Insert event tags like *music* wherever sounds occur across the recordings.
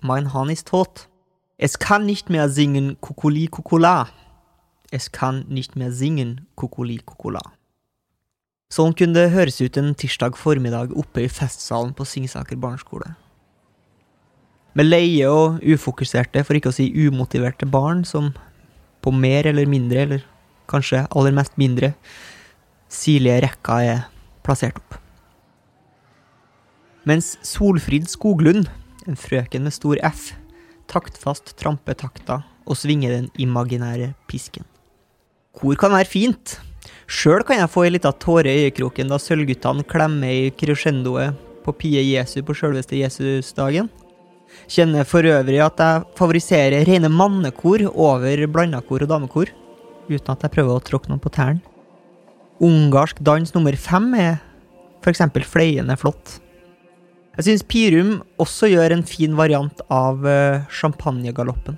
Mein Hahn ist tot. Es kann nicht mehr singen Kukuli Kukula. Es kann nicht mehr singen Kukuli Kukula. Sånn kunne det høres ut en tirsdag formiddag oppe i festsalen på Singsaker barneskole. Med leie og ufokuserte, for ikke å si umotiverte barn som på mer eller mindre, eller kanskje aller mest mindre, sirlige rekka er plassert opp. Mens Solfrid Skoglund, en frøken med stor F, taktfast tramper takta og svinger den imaginære pisken. Kor kan være fint. Sjøl kan jeg få ei lita tåre i øyekroken da Sølvguttene klemmer i crescendoet på Pie Jesu på sjølveste Jesusdagen. Kjenner for øvrig at jeg favoriserer rene mannekor over blanda kor og damekor, uten at jeg prøver å tråkke noen på tærne. Ungarsk dans nummer fem er f.eks. fleiende flott. Jeg syns Pirum også gjør en fin variant av eh, champagnegaloppen.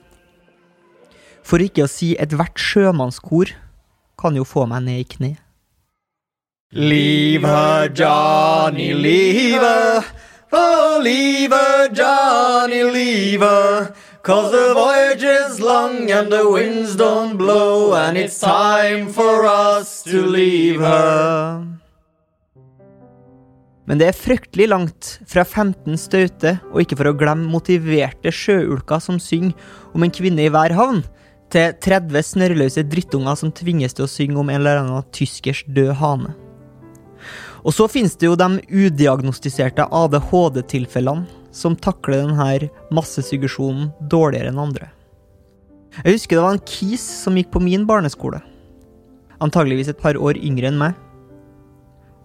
For ikke å si ethvert sjømannskor kan jo få meg ned i kne. Leave Johnny, leave her. Oh, leave her, Johnny, leave her. Cause the voyage is long and the winds don't blow, and it's time for us to leave her. Men det er fryktelig langt fra 15 staute, og ikke for å glemme motiverte sjøulker som synger om en kvinne i hver havn, til 30 snørrløse drittunger som tvinges til å synge om en eller annen tyskers død hane. Og så finnes det jo de udiagnostiserte ADHD-tilfellene som takler denne massesuggesjonen dårligere enn andre. Jeg husker det var en kis som gikk på min barneskole. Antageligvis et par år yngre enn meg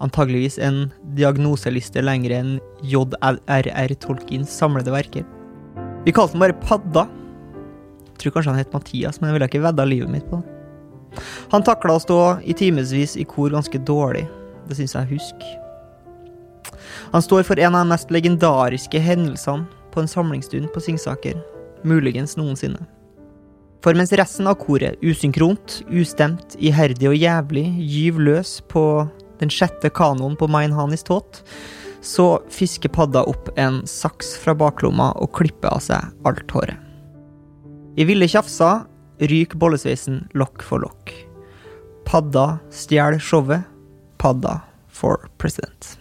antageligvis en diagnoseliste lenger enn J.R.R. Tolkins samlede verker. Vi kalte den bare Padda. Jeg tror kanskje han het Mathias, men jeg ville ikke vedda livet mitt på det. Han takla å stå i timevis i kor ganske dårlig. Det syns jeg husk. Han står for en av de mest legendariske hendelsene på en samlingsstund på Singsaker. Muligens noensinne. For mens resten av koret, usynkront, ustemt, iherdig og jævlig, gyv løs på den sjette kanoen på Mein Hanis tåt, så fisker padda opp en saks fra baklomma og klipper av seg alt håret. I ville tjafsa ryker bollesveisen lokk for lokk. Padda stjeler showet. Padda for president.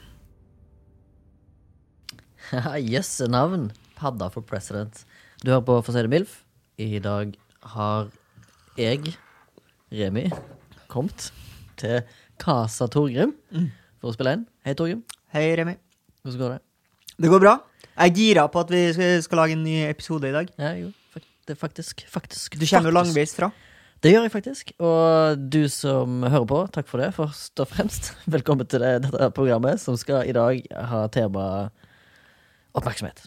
*laughs* Haha, Jøsse navn! Padda for president. Du hører på For å si det mildt. I dag har jeg, Remi, kommet til Casa Torgrim for å spille inn. Hei, Torgrim. Hei, Remi. Hvordan går det? Det går bra? Jeg er gira på at vi skal, skal lage en ny episode i dag. Ja, jo, fak- det er faktisk, faktisk Du kommer jo faktisk. langveis fra. Det gjør jeg faktisk. Og du som hører på, takk for det, først og fremst. *laughs* Velkommen til det, dette programmet, som skal i dag ha tema oppmerksomhet.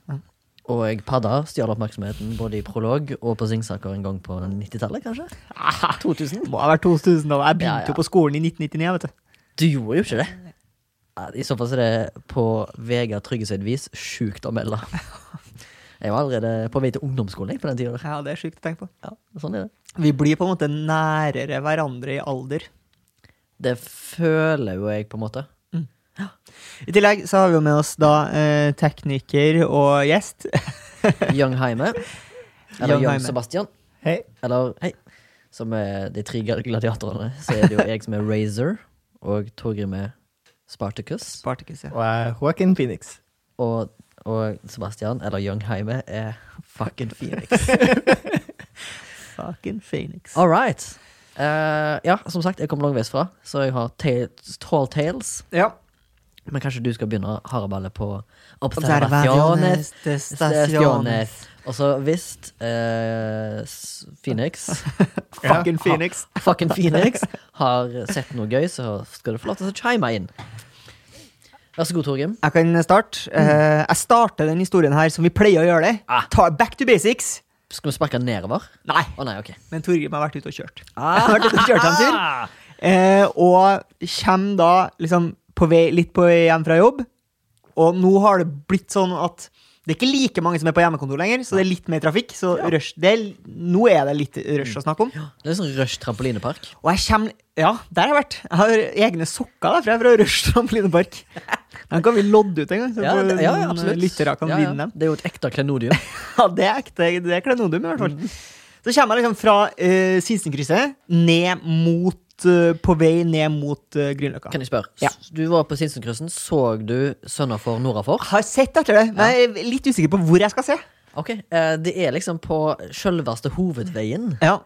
Og jeg padda stjal oppmerksomheten både i prolog og på Singsaker en gang på 90-tallet, kanskje? 2000? Må ha vært 2000, da. Jeg Ja, ja. begynte jo på skolen i 1999, vet du. Du gjorde jo ikke det. Ja, I så fall så er det på Vegard Tryggeseid vis sjukt å melde. Jeg var allerede på vei til ungdomsskolen jeg, på den tida. Ja, det er sjukt å tenke på. Ja, sånn er det. Vi blir på en måte nærere hverandre i alder. Det føler jo jeg, på en måte. I tillegg så har vi jo med oss da eh, tekniker og gjest. Young Heime. Eller Young Young Heime. Sebastian. Hei. Eller hei. Som er de tre gladiatorene. Så er det jo jeg som er Razor, og Torgrim er Spartacus. Spartacus, ja. Og jeg er Joaquin Phoenix. Og, og Sebastian, eller Young Heime, er fucking Phoenix. Fucking Phoenix. All right. Eh, ja, som sagt, jeg kom langveis fra, så jeg har ta- tall tales. Ja. Men kanskje du skal begynne hareballet på observasjones. Observaciones de staciones. Og så hvis eh, s- Phoenix Fucking Ha- Phoenix. Fucking Phoenix har sett noe gøy, så skal du få lov til å chime inn. Vær så god, Torgrim. Jeg kan starte. Eh, jeg starter den historien her som vi pleier å gjøre det. Ah. Ta back to basics. Skal vi sparke nedover? Nei, Å nei, OK. men Torgrim har vært ute og kjørt. Jeg har vært ute og kjørt en tur. Eh, og kommer da liksom på vei, litt på vei hjem fra jobb. Og nå har det blitt sånn at det er ikke like mange som er på hjemmekontor lenger, så det er litt mer trafikk. Så rush, det er, nå er det litt rush å snakke om. Det er sånn Rush trampolinepark. Og jeg kommer Ja, der har jeg vært. Jeg har egne sokker derfra fra Rush trampolinepark. Den kan vi lodde ut en gang, så Ja, det- ja, ja, noen absolutt. lyttere kan Ja, ja. vinne dem. Det er jo et ekte klenodium. Ja, det er ekte. Det er klenodium, i Mm. hvert fall. Så kommer jeg liksom fra uh, Sinsenkrysset ned mot eh, På vei ned mot uh, Grünerløkka. Kan jeg spørre? Ja. S- Du var på Sinsenkryssen. Så du Sønnafor Nordafor? Har sett etter det, men jeg er litt usikker på hvor jeg skal se. Ok, eh, det er liksom på sjølveste hovedveien Ja,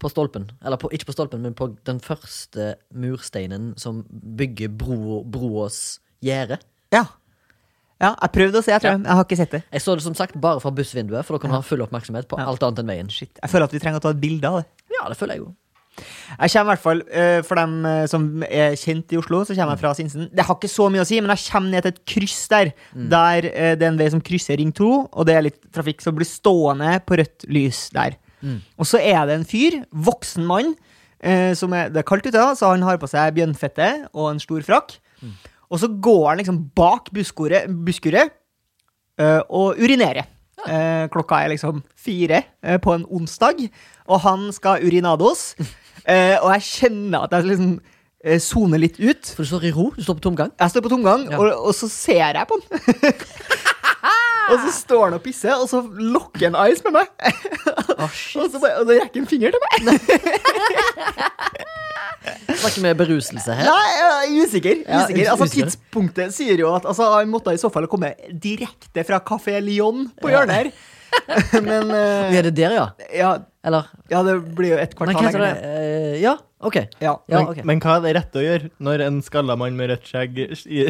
på stolpen. Eller på, ikke på stolpen, men på den første mursteinen som bygger bro, broas gjerde. ja. ja jeg prøvde å se, jeg tror jeg. Jeg har ikke sett det. Jeg så det som sagt bare fra bussvinduet, for da kan du ha full oppmerksomhet på alt annet enn veien. Shit. Jeg føler at vi trenger å ta et bilde av det. Ja, det føler jeg jo. Jeg kommer i hvert fall, eh, For dem eh, som er kjent i Oslo, så kommer jeg fra Sinsen. Det har ikke så mye å si, men jeg kommer ned til et kryss der. Der eh, Det er en vei som krysser Ring 2, og det er litt trafikk som blir stående på rødt lys der. Og så er det en fyr, voksen mann, eh, som er, det er kaldt ute, da, så han har på seg bjønnfette og en stor frakk. Og så går han liksom bak busskuret, busskuret eh, og urinerer. Eh, klokka er liksom fire eh, på en onsdag, og han skal *laughs* urinados. Eh, og jeg kjenner at jeg liksom eh, soner litt ut. For du står i ro. Du står på tomgang. Jeg står på tomgang, Ja. og, og så ser jeg på han. *laughs* og så står han og pisser, og så lokker han eyes med meg. *laughs* og så bare, og da rekker han finger til meg. *laughs* Snakker med beruselse her. Nei, jeg er usikker. Ja, usikker. Altså, usikker. tidspunktet sier jo at altså, han måtte i så fall komme direkte fra Café Lyon på hjørnet her. *laughs* Men eh, Er det der, ja? ja, Eller ja, det blir jo et Nei, kvartal hva heter lenger det? ned. Eh, ja, OK. Ja, Ja. men, ok. men hva er det rette å gjøre når en skalla mann med rødt skjegg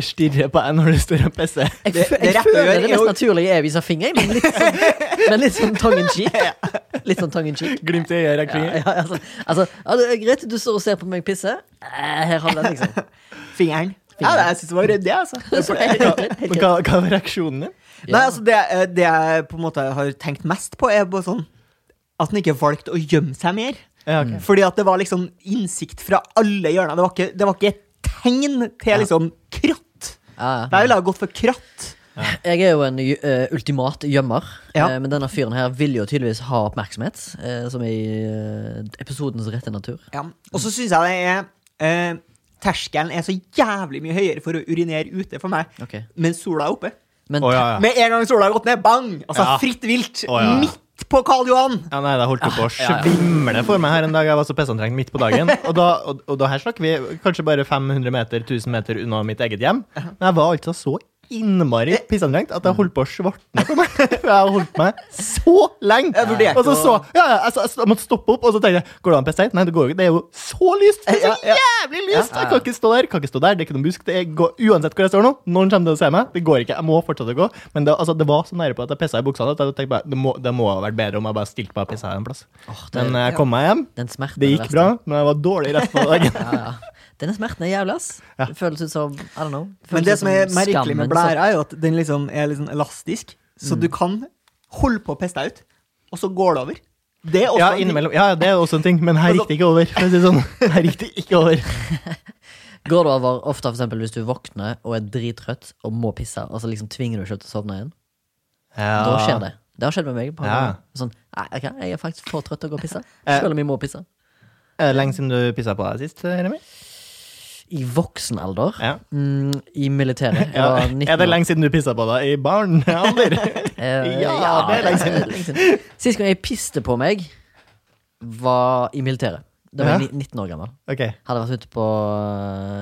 stirrer på deg når du står og pisser? Jeg, Det- fø- det jeg rette å føler gjøre det er mest å- naturlige er å vise fingeren, men litt sånn, men litt sånn tongue in cheek. Litt sånn tongue in cheek. Glimt i øyet, Ja, Kling. ja, altså, altså, ja, det er greit, du står og ser på meg pisse. Eh, Her har du den, liksom. Fingeren. Ja, det, jeg synes det var ryddig, altså. *laughs* Men hva, hva var reaksjonen din? Ja. Nei, altså det, eh, det jeg på en måte har tenkt mest på, er bare sånn at han ikke valgte å gjemme seg mer. Ja, ok. Fordi at det var liksom innsikt fra alle hjørner. Det var ikke, det var ikke et tegn til liksom kratt. Ja, ja. Jeg ville ha gått for kratt. Jeg er jo en gj- eh, ultimat gjemmer, Ja. eh, men denne fyren her vil jo tydeligvis ha oppmerksomhet, eh, som i eh, episodens rette natur. Ja. Og så syns jeg det er eh, Terskelen er så jævlig mye høyere for å urinere ute for meg, Ok. men sola er oppe. Men Å, ja, ja. Med en gang sola har gått ned, bang! Altså Ja. fritt vilt. Å, ja. Midt på Karl Johan! Ja, nei, Det holdt på å Ah, svimle for meg her en dag. Jeg var så pissetrengt midt på dagen. Og da, og, og da her snakker vi kanskje bare 500 meter, 1000 meter unna mitt eget hjem. Men jeg var altså så innmari pissetrengt at jeg holdt på å svartne for meg. *laughs* For jeg har holdt meg så lenge. Jeg vurderte Og så å- så ja, ja, altså, jeg, måtte stoppe opp, og så tenkte jeg Går det an å pisse her? Nei, det går jo ikke. Det er jo så lyst! Det er Ja, ja. så jævlig lyst! Jeg kan ikke stå der. Kan ikke stå der. Det er ikke noen busk. Det er, går, uansett hvor jeg står nå, noen kommer til å se meg. Det går ikke. Jeg må fortsette å gå. Men det, altså, det var så nære på at jeg pissa i buksene at jeg tenkte bare, det må, det må ha vært bedre om jeg bare stilte meg og pissa en plass. Åh, det- Men jeg kom meg hjem. Den smerten Det er gikk verste. bra, men jeg var dårlig resten av *laughs* dagen. Ja, ja. Denne smerten er jævlig, ass. Det føles ut som I don't know. Men føles det ut som er som merkelig skammen med blæra, er jo at den liksom er liksom elastisk. Så du kan holde på å pisse deg ut, og så går det over. Det er også Ja, en ting. innimellom. Ja, ja, det er også en ting, men her gikk det ikke over. For å si det sånn. Her gikk det ikke *laughs* over. Går det over ofte for eksempel, hvis du våkner og er drittrøtt og må pisse, og så liksom tvinger du deg selv til å sovne igjen? Ja. Da skjer det. Det har skjedd med meg. et par Ja. ganger. Sånn, nei, ok, jeg er faktisk for trøtt til å gå og pisse. Eh. Selv om jeg må pisse. Er det lenge siden du pissa på deg sist, Remi? I voksen alder. Ja. Mm, I militæret. Jeg Ja. var 19 Er det år. lenge siden du pissa på deg i *laughs* barnealder? Eh, Ja, det er lenge siden. siden. Sist gang jeg piste på meg, var i militæret. Da var jeg Ja. ni- 19 år gammel. *laughs* Ok. Hadde vært ute på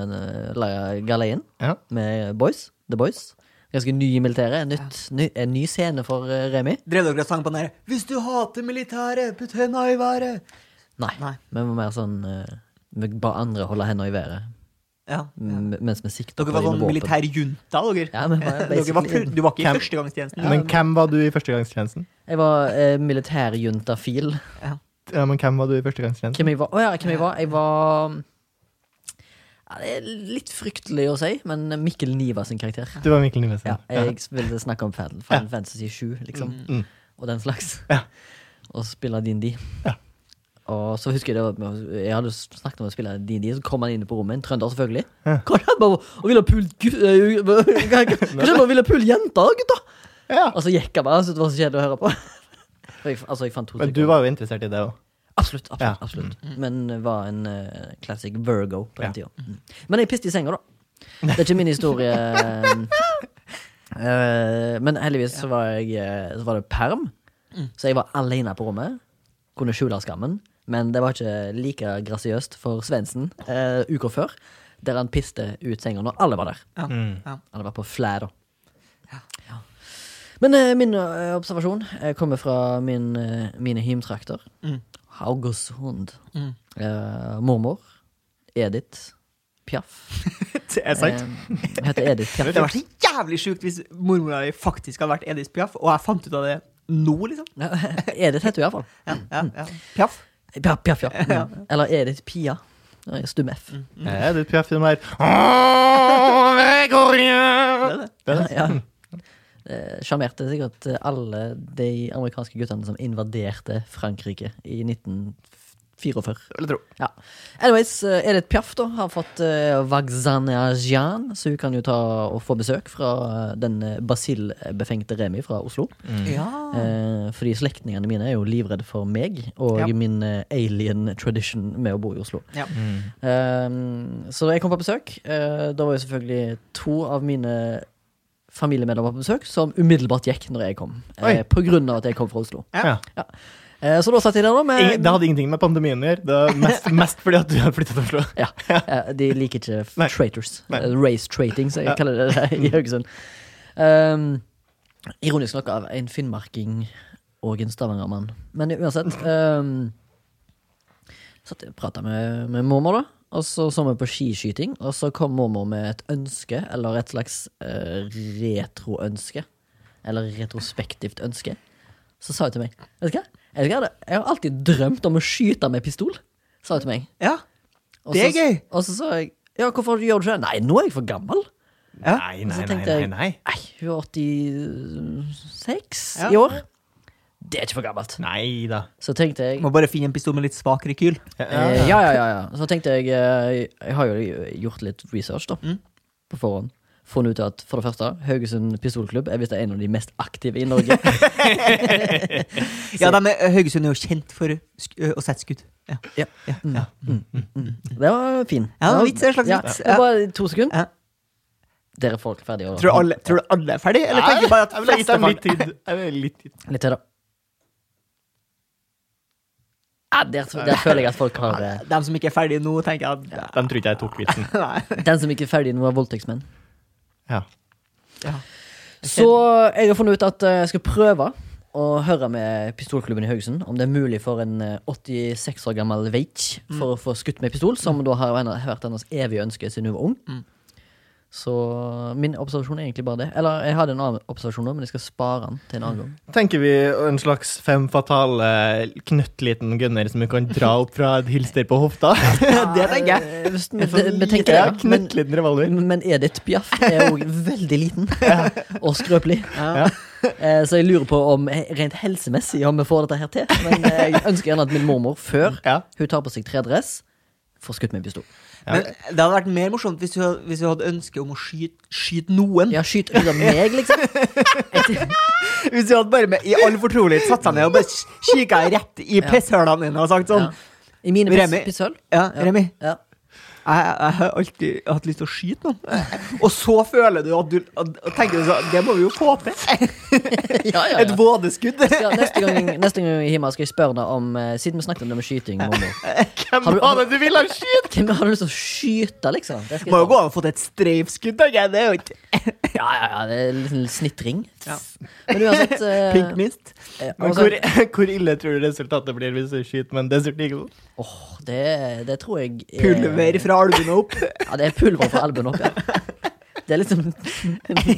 eh, la- galeien Ja. med boys. The Boys. Ganske ny i militæret. Nytt, ny, en ny scene for eh, Remi. Drev dere og sang på den der 'Hvis du hater militæret, putt henda i været'? Nei. Nei. Vi var mer sånn eh, Vi ba andre holde hendene i været Ja. m- mens vi sikta på Dere var dem sånn med Mm. våpen. militær junta, dere. Eh, Ja, men var jeg dere var basically- full, du var ikke i Hvem- førstegangstjenesten. Men hvem var du i førstegangstjenesten? Jeg var eh, militærjuntafil. Ja, men hvem var du i førstegangstjenesten? Hvem jeg var? Å ja, hvem jeg var? Jeg var um, Ja, det er litt fryktelig å si, men Mikkel Niva sin karakter. Det var Mikkel Niva sin. Ja, jeg ville snakke om Final Final Ja. Fantasy 7, liksom. Mm. Og den slags. Ja. Og spille DND. Ja. Og så husker jeg det var med- Jeg hadde snakket om å spille DND, så kom han inn på rommet, en trønder selvfølgelig. Ja. Hva er det han bare Og ville pule gu- eh, *laughs* hva- hva- Hva er det han ville pule jenter, gutta? Ja. Og så gikk han bare, så det var så kjedelig å høre på. *laughs* Og Jeg, altså, jeg fant to Men stykker. du var jo interessert i det òg. Absolutt. absolutt, Ja. absolutt. Men var en eh, classic Virgo på den Ja. tida. Mm. Men jeg piste i senga, da. Det er ikke min *laughs* historie. Eh, men heldigvis så var, jeg, eh, så var det perm, så jeg var alene på rommet. Kunne skjule skammen. Men det var ikke like grasiøst for Svendsen eh, uka før, der han piste ut senga når alle var der. Ja. Ja. Han var på flere, da. Ja. Men eh, min eh, observasjon eh, kommer fra min, eh, mine hymtrakter. Mm. Haugesund. Mm. Eh, mormor. Edith. Piaf. Det er sant. Eh, heter Edith *laughs* Piaf. Det hadde vært så jævlig sjukt hvis mormora di faktisk hadde vært Edith Piaf, og jeg fant ut av det nå, liksom. Edith heter hun iallfall. Ja, ja, ja. Piaf. Mm. Piaf, Piaf, ja. Mm. Eller Edith Pia. Det er Stum F. Er det et piaf i den *laughs* her? Åh, jeg går hjem! Det er det. Det er det. Ja. Eh, Sjarmerte sikkert alle de amerikanske guttene som invaderte Frankrike i 1944. Det vil jeg tro. Ja. Anyways, eh, Edith Piaf da har fått uh, Vagzanyajan, så hun kan jo ta og få besøk fra eh, den eh, basillbefengte Remi fra Oslo. Ja. Eh, fordi slektningene mine er jo livredde for meg og Ja. min eh, alien tradition med å bo i Oslo. Ja. Eh, så da jeg kom på besøk, eh, da var jo selvfølgelig to av mine familiemedlemmer på besøk som umiddelbart gikk når jeg kom. eh, Oi. på grunn av at jeg kom fra Oslo. Ja. Ja. Eh, så da satt jeg der, da. Med, Ingen, det hadde ingenting med pandemien å gjøre. Det er *laughs* mest, mest fordi at du har flyttet til Oslo. Ja, *laughs* eh, De liker ikke f- Nei. traitors. Nei. Eh, Race traiting, som jeg Ja. kaller det der i Haugesund. Um, ironisk nok av en finnmarking og en stavangermann. Men uansett um, Satt og prata med, med mormor, da. Og så så vi på skiskyting, og så kom mormor med et ønske, eller et slags eh, retroønske. Eller retrospektivt ønske. Så sa hun til meg Vet du hva? Vet du hva? Jeg har alltid drømt om å skyte med pistol, sa hun til meg. ja. Og Det er så- gøy. Og så sa jeg Ja, hvorfor gjør du det? Nei, nå er jeg for gammel. Ja. Nei, Og nei, så nei, tenkte nei, jeg- nei. Nei, hun er 86 Ja. i år. Det er ikke for gammelt. Nei da. Så tenkte jeg Må bare finne en pistol med litt svak rekyl. eh, Ja, ja, ja. ja. Så tenkte jeg eh, Jeg har jo gjort litt research, da. Mm. På forhånd. Funnet ut at for det første, Haugesund pistolklubb er visst en av de mest aktive i Norge. *laughs* Ja, de er, Haugesund er jo kjent for sk ø, å sette skudd. Ja. Ja. Ja. Ja. Det var fin. Ja, det var vits, en slags Ja, vits. det var Bare to sekunder. Ja. Dere er folk ferdige. og- Tror, du alle, tror du alle er ferdig, eller tenker du bare at Jeg ville gitt fleste dem er litt tid. Jeg ville litt tid. Litt til, da. Ja, der, der føler jeg at folk har *laughs* eh, ferdig? De som ikke er ferdige nå, tenker jeg at De tror ikke jeg tok *laughs* vitsen. Nei. Den som ikke er ferdig nå, er voldtektsmenn. Ja. Ja. Så jeg har funnet ut at eh, jeg skal prøve å høre med pistolklubben i Haugesund om det er mulig for en eh, 86 år gammel veitj Mm. for å få skutt med pistol, som da har henne- vært hennes evige ønske siden hun var Mm. ung. Så min observasjon er egentlig bare det. Eller jeg hadde en annen observasjon nå, men jeg skal spare den til en annen gang. Tenker vi en slags fem fatale, knøttliten gunner som vi kan dra opp fra et hilster på hofta? *laughs* Det tenker jeg. Eh, hvis- Vi vi tenker det, Ja, ja. *laughs* Men- knøttliten revolver. Men Edith Piaf er òg veldig *laughs* liten *laughs* og skrøpelig. Eh, Så jeg lurer på om eh, rent helsemessig om vi får dette her til. Men eh, jeg ønsker gjerne at min mormor, før Ja. hun tar på seg tredress, får skutt med pistol. Men det hadde vært mer morsomt hvis du, hadde- hvis du hadde ønske om å skyte, skyte noen. Ja, skyt ut av meg, liksom. Hvis du hadde bare med, i all fortrolighet satt seg ned og bare sk- kikket rett i pisshølene dine og sagt sånn Ja. I mine Remi. piss- pisshøl. Ja, Remi, jeg, *laughs* Ja. jeg har alltid hatt lyst til å skyte noen. Og så føler du at du at- og tenker du sånn Det må vi jo få *laughs* til. Ja, ja, Et ja. vådeskudd. Ja, neste gang, neste gang jeg er hjemme, skal jeg spørre deg om eh, Siden vi snakket om det med skyting, *laughs* mormor. Hvem var det du ville skyte? Hvem har du lyst til å skyte, liksom? Det skal Må jo jeg gå an å få til et streifskudd, tenker jeg. Det er jo ikke ta. ja, ja, ja, det er en liten snittring. Men uansett *laughs* eh, pink mist. eh, Men altså- hvor, *laughs* hvor ille tror du resultatet blir hvis du skyter med en Desert Eagle? Åh, det, det tror jeg er- *laughs* Pulver fra albuene opp. Ja, det er pulver fra albuen opp, ja. Det er liksom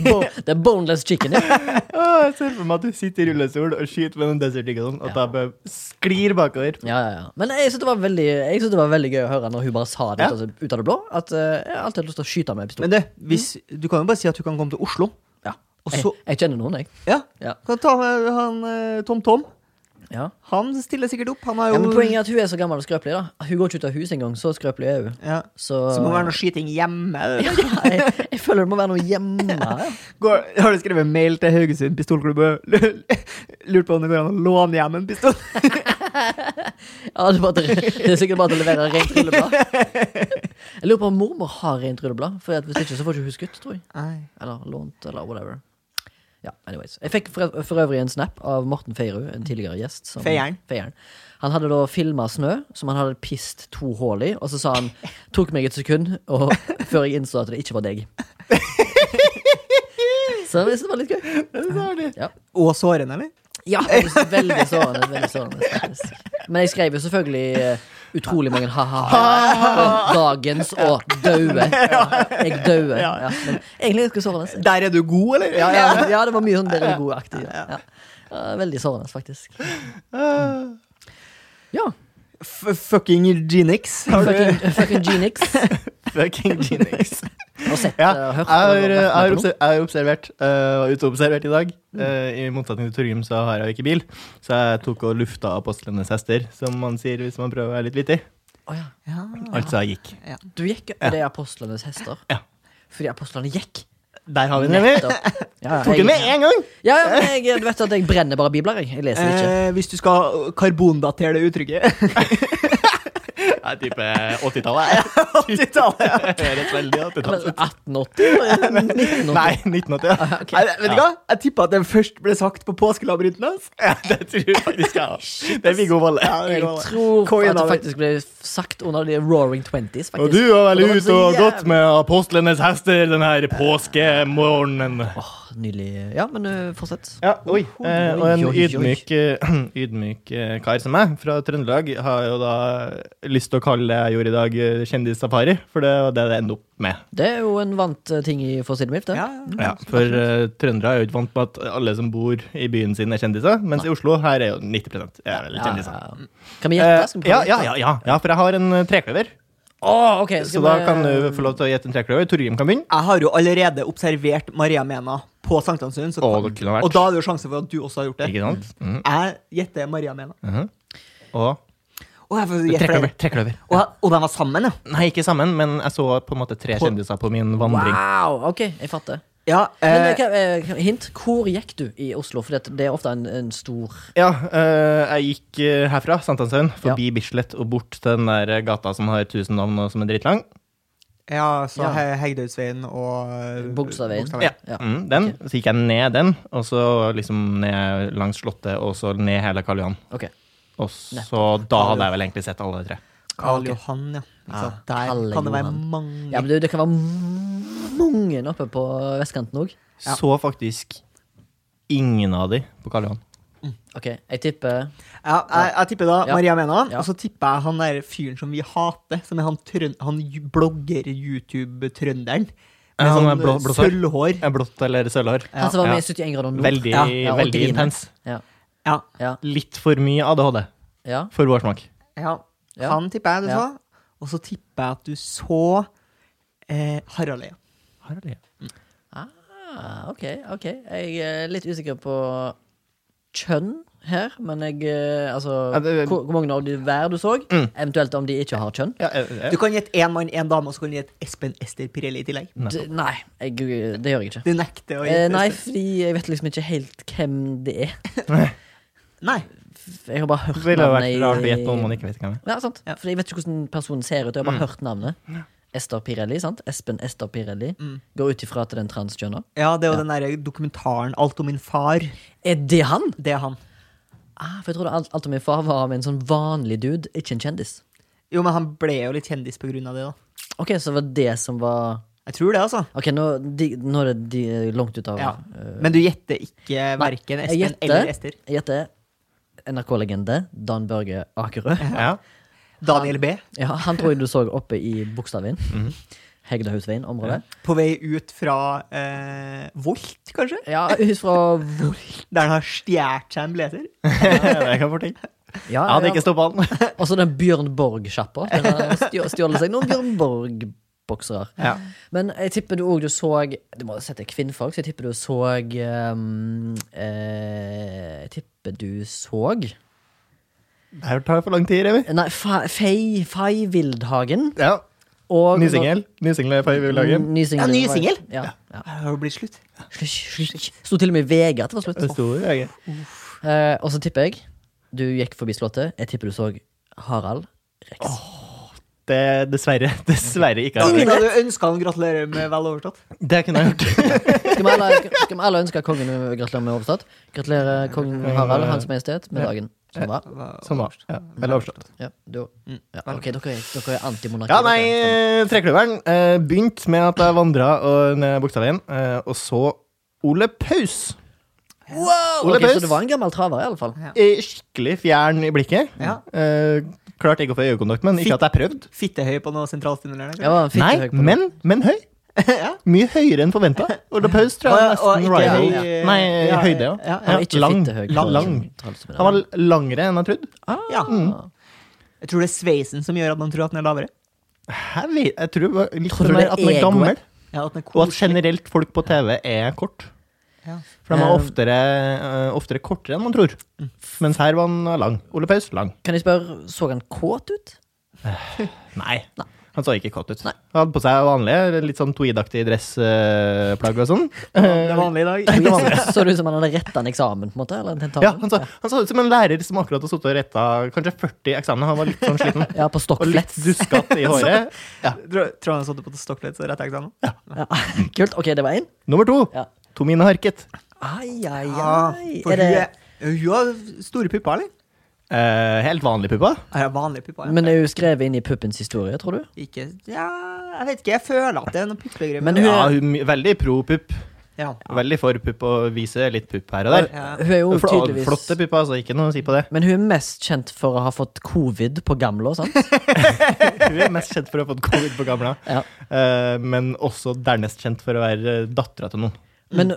bo- Det er boneless chicken. Ja. Åh, jeg ser for meg at du sitter i rullestol og skyter med den Desert Eagle, og da bare sklir bakover. Ja, ja, ja. Men jeg syns det, var veldig- jeg synes det var veldig gøy å høre når hun bare sa det Ja. ut, av- ut av det blå. At eh, jeg har alltid lyst til å skyte med pistol. Men du, hvis, du kan jo bare si at du kan komme til Oslo. Ja. Og Jeg, så jeg kjenner noen, jeg. Ja. Ja. Kan ta med han eh, Tom Tom. Ja. Han stiller sikkert opp. Han er Ja, men jo poenget er at hun er så gammel og skrøpelig. da Hun går ikke ut av huset engang. Så skrøpelig er hun. ja. Så, Så må det være noe skyting hjemme. *laughs* Ja, jeg, jeg føler det må være noe hjemme. her. Går, har du skrevet mail til Haugesund pistolklubb og *laughs* lurt på om det går an å låne hjem en pistol? Ja, det, er bare, til- det er sikkert bare til å levere rent rulleblad. Jeg lurer på om mormor har rent rulleblad. For at Hvis ikke så får ikke hun skutt, tror jeg. Nei. Eller lånt, eller whatever. Ja, anyways Jeg fikk for, for øvrig en snap av Morten Feierud, en tidligere gjest. som- Feieren. Feieren. Han hadde da filma snø som han hadde pist to hull i, og så sa han Tok meg et sekund og, før jeg innså at det ikke var deg. Så jeg synes det var litt gøy. Og sårende, eller? Ja, det var veldig sårende. Veldig sårende faktisk. Men jeg skrev jo selvfølgelig eh, utrolig mange ha-ha. Dagens og daue. Jeg daue. Ja, men egentlig ganske sårende. Der er du god, eller? Ja, ja, ja, det var mye sånn dere er gode-aktig. Ja. Ja. Ja, Veldig sårende, faktisk. Ja. *laughs* F fucking Genix. Har du Fucking, fucking Genix. *laughs* Fucking Genix. Og sett, Ja, eh, jeg hørt har, og vært jeg har, med på noe. obser- jeg har observert, eh, var uteobservert i dag. Eh, I motsetning til Torgrim så har jeg jo ikke bil, så jeg tok og lufta apostlenes hester, som man sier hvis man prøver å være litt vittig. Å, ja. ja. Altså jeg gikk. Du gikk Er det apostlenes hester? Ja. Fordi apostlene gikk. Der har vi den, eller? Ja, Tok den med jeg, en gang! ja, ja, men jeg, du vet at jeg brenner bare bibler, jeg. Jeg leser ikke. Eh, hvis du skal karbondatere det uttrykket *laughs* Jeg tipper *laughs* 80-tallet. 80-tallet, ja. Høres veldig 80-tallet ut. 1880? 1980? *laughs* Nei, 1980. ja. Ok. Nei, Vet du hva? Jeg tippa at den først ble sagt på påskelabyrinten hans. Ja, det tror jeg faktisk jeg har. Det er Viggo Valle. Jeg tror Coin at det av- faktisk ble sagt under de roaring twenties. Og du var vel Og det var ute så og gått jævlig- med apostlenes hester denne påskemorgenen. Åh, Nydelig. Ja, men ø, fortsett. Ja, oi. Eh, og en Oi, oi, oi. ydmyk, *clears throat* eh, ydmyk eh, kar som meg, fra Trøndelag, har jo da lyst til å kalle det jeg gjorde i dag, eh, kjendissafari. For det var det det endte opp med. Det er jo en vant ø, ting i Forsidet mitt, det. Ja, For eh, trøndere er jo ikke vant med at alle som bor i byen sin, er kjendiser. Mens i Oslo her er jo 90 er vel kjendiser. ja. Kan vi Eh, gjette? Skal vi prøve Ja, å ja, gjette? ja, ja, ja, for jeg har en eh, trekløver. Åh, ok, Så skal da vi- kan du få lov til å gjette en trekløver. Torgrim kan begynne. Jeg har jo allerede observert Maria Mena på Sankthansund, så- Å, det kunne vært. og da er det jo sjanse for at du også har gjort det. *laughs* Ikke sant? Mhm. Jeg gjetter Maria Mena. Og Og, jeg får gjette trekløver. flere. trekløver. og, jeg- og de var sammen, ja. Nei, ikke sammen, men jeg så på en måte tre kjendiser på min vandring. Wow, ok, jeg fatter. ja Men eh, ø, kan- ø, kan- hint, hvor gikk du i Oslo? For det er ofte en, en stor Ja, eh, jeg gikk eh, herfra, Sankthanshaugen, forbi Bislett og bort til den der eh, gata som har tusen navn og som er dritlang. ja, så Ja. He- Hegdehaugsveien og eh, Bogstadveien. Bogstadveien. Ja. Mm, den. Så gikk jeg ned den, og så liksom ned langs Slottet, og så ned hele Karl Johan. Ok. Og så da hadde jeg vel egentlig sett alle tre. Karl Johan, ja. Ikke sant? Der Kalle kan det være Johan. mange Ja, men du, det kan være m- mange oppe på vestkanten òg. Ja. Så faktisk ingen av de på Karl Johan. Ok, jeg tipper Ja, jeg, jeg tipper da Ja. Maria Mena, Ja. og så tipper jeg han der fyren som vi hater, som er han, trøn han j- blogger YouTube-trønderen. Med Ja, han sånn med blå- eh, blått hår. sølvhår. Er Blått eller sølvhår. Ja. Han som var med Ja. i 71 grader nord. Veldig, Ja, ja, og veldig griner. intens. Ja. Ja, Ja. Litt for mye ADHD Ja. for vår smak. ja. Ja. Han tipper jeg du Ja. sa. Og så tipper jeg at du så eh, Harald Eia. Her er det. Ah, OK, OK. Jeg er litt usikker på kjønn her, men jeg eh, Altså, Ja, det- Mm. hvor, hvor mange av de hver du så? Eventuelt om de ikke har kjønn? Ja, eh, eh. Du kan gjette én mann, én dame, og så kan du gjette Espen Ester Pirelli i tillegg. D nei, jeg, eh, det gjør jeg ikke. Du nekter å Eh, gjette. nei, Espen. fordi jeg vet liksom ikke helt hvem det er. nei. Jeg har bare hørt Det ville jo vært navnet rart å gjette om Mm. man ikke vet hvem det er. Ja, sant. Ja. For jeg vet ikke hvordan personen ser ut. Jeg har bare hørt navnet. Ester Pirelli, sant? Espen Ester Pirelli. Går ut ifra at det er en transkjønner. Ja, det er jo den derre dokumentaren 'Alt om min far'. Er det han? Det er han. Ah, for jeg trodde alt, alt om min far var med en sånn vanlig dude, ikke en kjendis. Jo, men han ble jo litt kjendis på grunn av det, da. Ok, så det var det som var Jeg tror det, altså. Ok, nå, de, nå er det de, langt ut av Ja. eh, Men du gjetter ikke nei, verken jeg Espen gjetter- eller Ester. Jeg gjetter NRK-legende Dan Børge Akerø. *laughs* Ja. Daniel B. Mhm. Ja, han tror jeg du så oppe i Bogstadveien. Hegdehusveien-området. På vei ut fra eh, Volt, kanskje? Ja, hus fra hvor Der han har stjålet seg en blazer? det kan fort tenke. Ja, Jeg hadde ikke stoppa *laughs* han. Og så Altså, den Bjørn Borg-sjappa. Den har stjå- Stjålet seg noen Bjørn Borg-boksere. Ja. Men jeg tipper du òg du så Du må sette kvinnfolk, så jeg tipper du så ehm, eh, Jeg tipper du så Det her tar for lang tid, Remi. Nei, Fa- Fei, Fei Wildhagen. Ja. Og Ny singel. Ny singel er på vei vi vil lage. Mm, Ny singel. Ja, ny singel? Ja. ja. Det har jo blitt slutt. Sto til og med i VG at det var slutt. Det sto jo VG. Eh, og så tipper jeg Du gikk forbi Slottet. Jeg tipper du så Harald Rex. Det dessverre. *laughs* Dessverre ikke. Ingen Henrik. hadde ønska han gratulerer med vel overtatt. Det kunne jeg *laughs* gjort. Skal vi alle, skal, skal vi alle ønske kongen gratulerer med overstått? Gratulerer kongen Harald, Hans Majestet, med dagen. Som var. Sånn var ja. Eller overstått. Ja, du, Mm. ja. Ok, dere er, dere er antimonarki. Ja, dere. nei, Trekløveren eh, begynte med at jeg vandra ned Bogstadveien, eh, og så Ole Paus. Wow! Ole Ok, så Paus. du var en gammel traver, iallfall. Ja. eh, Skikkelig fjern i blikket. Ja. Eh, klarte ikke å få øyekontakt med han. Ikke Fikk- at jeg prøvde. Fittehøy på noe sentralstimulerende. kanskje? Jeg var en fitte Nei, høy på det. men, men høy. *laughs* Mye høyere enn forventa. Ole Paus tror jeg Og- og nesten ikke rival. høy, eh, Nei, ja, høyde, ja. ja, ja. Han var ikke lang, fittehøy. sånn lang, lang. Han var langere enn jeg trodde. Ja. Ah. Jeg tror det er sveisen som gjør at man tror at den er lavere. Jeg, vet, jeg tror det var litt Tror du mer det er at han er egoet? gammel. Ja, at den er Og at koselig. generelt folk på TV er kort. Ja. For de er Eh, oftere, eh, oftere kortere enn man tror. Mens her var han lang. Ole Paus lang. Kan jeg spørre, så han kåt *laughs* ut? Nei. Han så ikke kåt ut. Han hadde på seg vanlige, litt sånn tweedaktig dressplagg og sånn. Det er vanlig i dag. Så det ut som han hadde retta en eksamen, på en måte? Eller en Ja, tentamen? han, så, han så ut som en lærer som akkurat har sittet og retta kanskje 40 eksamener. Han var litt sånn sliten. Ja, på Og litt stokkflett. duskete *laughs* i håret. Ja. Tror tror han satt på Stocklet, så rett eksamen. Ja. *laughs* Kult. Ok, det var én. Nummer to. Ja. Tomine Harket. Ai, ai, Ja, ai. for Er det, hun, er, hun har store pupper, eller? Eh, helt vanlig puppa. Her er vanlige pupper. Ja. men er hun skrevet inn i puppens historie, tror du? Ikke Ja, jeg vet ikke. Jeg føler at det er noen puppegreier. Men med det. Ja, hun, veldig pro pupp. ja. Veldig for pupp og viser litt pupp her og der. Ja. Hun er jo Fl tydeligvis Flotte pupper, altså. Ikke noe å si på det. Men hun er mest kjent for å ha fått covid på gamle og sånt. Hun er mest kjent for å ha fått covid på gamla, Ja. Eh, men også dernest kjent for å være dattera til noen. Men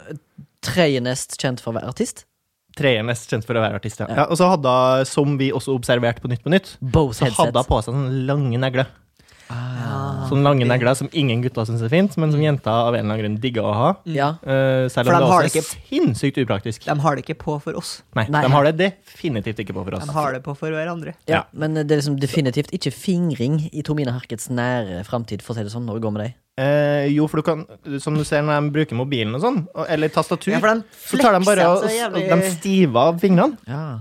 tredje nest kjent for å være artist? Tredje mest kjent for å være artist, ja. ja og så hadde hun, som vi også observerte på Nytt på Nytt, Bose så hadde hun headset. på seg sånne lange negler. Ah. Sånne lange negler som ingen gutter syns er fint, men som jenter av en eller annen grunn digger å ha. Ja. Eh, selv For om de det har også det er sinnssykt upraktisk. De har det ikke på for oss. Nei, Nei. de har det definitivt ikke på for oss. De har det på for hverandre. Ja, Ja. men det er liksom definitivt ikke fingring i Tomine Harkets nære framtid, for å si det sånn, når det går med deg. Eh, jo, for du kan, som du ser når de bruker mobilen og sånn, og- eller tastatur, Ja, for de så tar de bare flekser og, så jævlig- og de stiver av fingrene. Ja.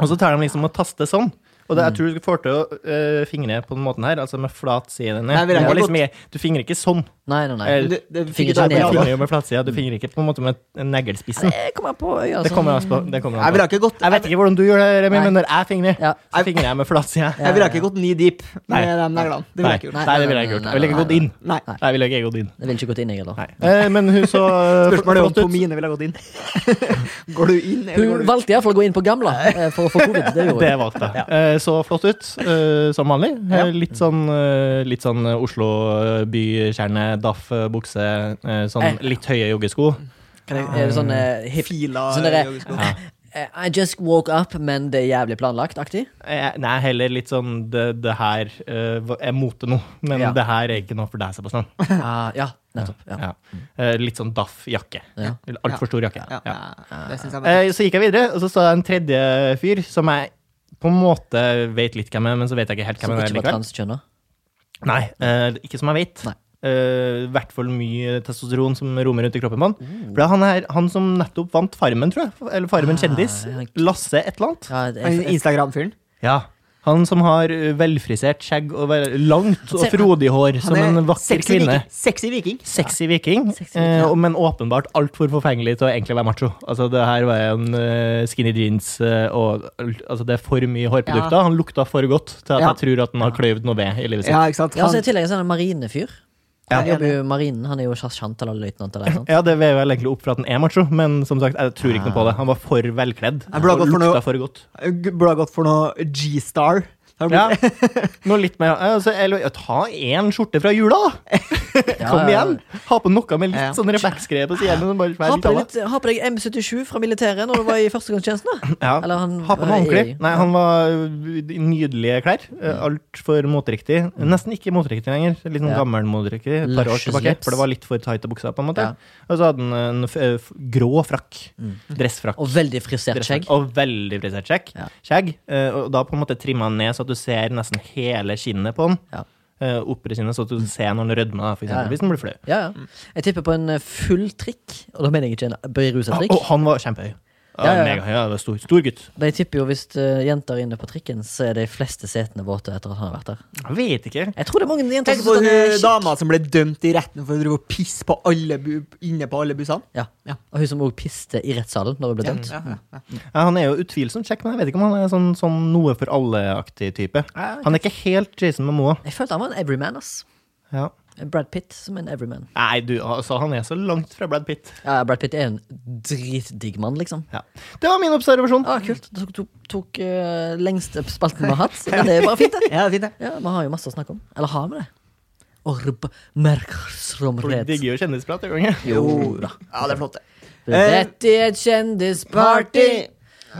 Og så tar de liksom og taster sånn. Og det, jeg tror du får til å øh, fingre på den måten her, altså med flat side ned. Nei, vil jeg du, må ikke liksom, ikke- du fingrer ikke sånn. Nei, nei, nei. Eh, Det, det fikk Fingre til ikke Du Ja, jeg ned, på. fingrer jo med flatsida, du fingrer ikke på en måte med neglspissen. Det kommer an på øya. altså- Det kommer an på. Det kommer Jeg an ville på. ikke gått Jeg vet ikke hvordan du gjør det, Remi, Nei. men når jeg fingrer, Ja. så fingrer jeg med flatsida. Jeg ville ikke gått knee deep Nei. med de neglene. Det ville Nei, jeg ikke gjort. Nei, nei, det ville jeg ikke nei, gjort. nei, Jeg ville ikke nei, gått inn. Nei. Nei, jeg ville ikke gått inn. Jeg vil ikke gått inn, jeg heller. Eh, men hun *laughs* så øh, Spørsmålet er om flott ut. Tomine ville gått inn. *laughs* Går du inn, eller Hun går du ut? valgte iallfall å gå inn på gamla eh, for å få covid. Det gjorde Det hun. valgte *laughs* jeg. Eh, Så flott ut, eh, som vanlig. Eh, Litt sånn, eh, litt sånn eh, Oslo eh, bykjerne, daff eh, bukse, eh, sånn Eh. litt høye joggesko. Kan jeg, er det sånn Mm. eh, hip Fila Sånn der- joggesko. Ja. eh, I just woke up, men det er jævlig *laughs* planlagt-aktig? Eh, Nei, heller litt sånn det, det her eh, hva- er mote nå, men Ja. det her er ikke noe for deg, Sebastian. Ah, ja, nettopp. Ja. Ja. Eh, Litt sånn daff-jakke. Ja. Altfor stor jakke. Ja, Ja. ja, det synes jeg var Eh, Så gikk jeg videre, og så så jeg en tredje fyr som jeg på en måte vet litt hvem er, men så vet jeg ikke helt hvem Som han er ikke var likevel. transkjønna. Nei, eh, ikke som jeg vet. Nei. Eh, I hvert fall mye testosteron som romer rundt i kroppen på han. For det er han, her, han som nettopp vant Farmen, tror jeg. Eller Farmen kjendis. ja. Lasse et eller annet. Ja, jeg- Han jeg- Instagram-fyren. Ja. Han som har eh, velfrisert skjegg og vel- langt og ser- frodig hår som Han er en vakker sexy kvinne. Viking. Sexy viking. Sexy viking, Sexy viking, ja. eh, og- men åpenbart altfor forfengelig til å egentlig være macho. Altså, det her var en eh, skinny jeans, eh, og altså, det er for mye hårprodukter. Ja. Han lukta for godt til at Ja. jeg tror at han har kløyvd noe ved i livet sitt. Ja, ikke sant? Ja, så I Han, tillegg så er han en marinefyr. Han Ja. jobber jo i marinen. Han er jo sersjant eller løytnant eller noe sånt. Ja, det veier vel egentlig opp for at han er macho, men som sagt, jeg tror ikke noe på det. Han var for velkledd. Jeg burde ha og gått for noe- lukta for godt. burde ha gått for noe G-star. Har du Ja. blitt- Noe litt mer altså, eller, Ta én skjorte fra jula, da! *laughs* Kom ja. igjen! Ha på noe med Ja. litt sånn refleksgreie på siden Sånn, bare, Ha vær litt på, av det. litt, ha på deg M77 fra militæret når du var i førstegangstjenesten, da. ja. Eller han Ha på noe var i- ordentlig. Nei, han var i nydelige klær. Altfor moteriktig. Nesten ikke moteriktig lenger. Litt sånn Mm. Ja. gammel moteriktig. Et par år Luscious tilbake. lips. For det var litt for tighte bukser, på en måte. Ja. Mm. Og så hadde han en f eh, f grå frakk. Dressfrakk. Og veldig frisert Dressfrakk. skjegg. Og veldig frisert skjegg. Ja. skjegg. Eh, Og da på en måte trimma han ned, så at du ser nesten hele kinnet på han. Ja. Mm. Eh, Opre kinnet, så at du ser når han rødmer, da, for Ja, eksempel, ja. hvis han blir flau. Ja, ja. Jeg tipper på en eh, full trikk, og da mener jeg ikke en berusa trikk. Ah, Og han var kjempehøy. Ja, Ja, ja, ja. Megahøy. Ja, det var stor, stor gutt. De tipper jo hvis eh, jenter er inne på trikken, så er de fleste setene våte etter at han har vært der. Jeg vet ikke. Jeg tror det er mange jenter Tenk som på synes han eh, er hun kjekk. dama som ble dømt i retten for å drive og pisse på alle bu inne på alle bussene. Ja. Ja. Og hun som òg piste i rettssalen når hun ble dømt. Ja, ja. Ja, han er jo utvilsomt kjekk, men jeg vet ikke om han er sånn, sånn noe for alle-aktig type. Han er ikke helt Jason Momoa. Jeg følte han var en everyman, ass. Ja. Brad Pitt som en everyman. Nei, du, altså, han er så langt fra Brad Pitt. Ja, Brad Pitt er en dritdigg mann, liksom. Ja. Det var min observasjon. Ja, kult. Det tok, tok, tok eh, lengste spalten vi har hatt. Men det er bare fint, det. Ja, det er fint, det. Ja, Vi har jo masse å snakke om. Eller har vi det? Orb merksomhet. Folk digger jo kjendisprat. gjør de ikke? Jo da. Ja, det er flott, det. Dette er et kjendisparty.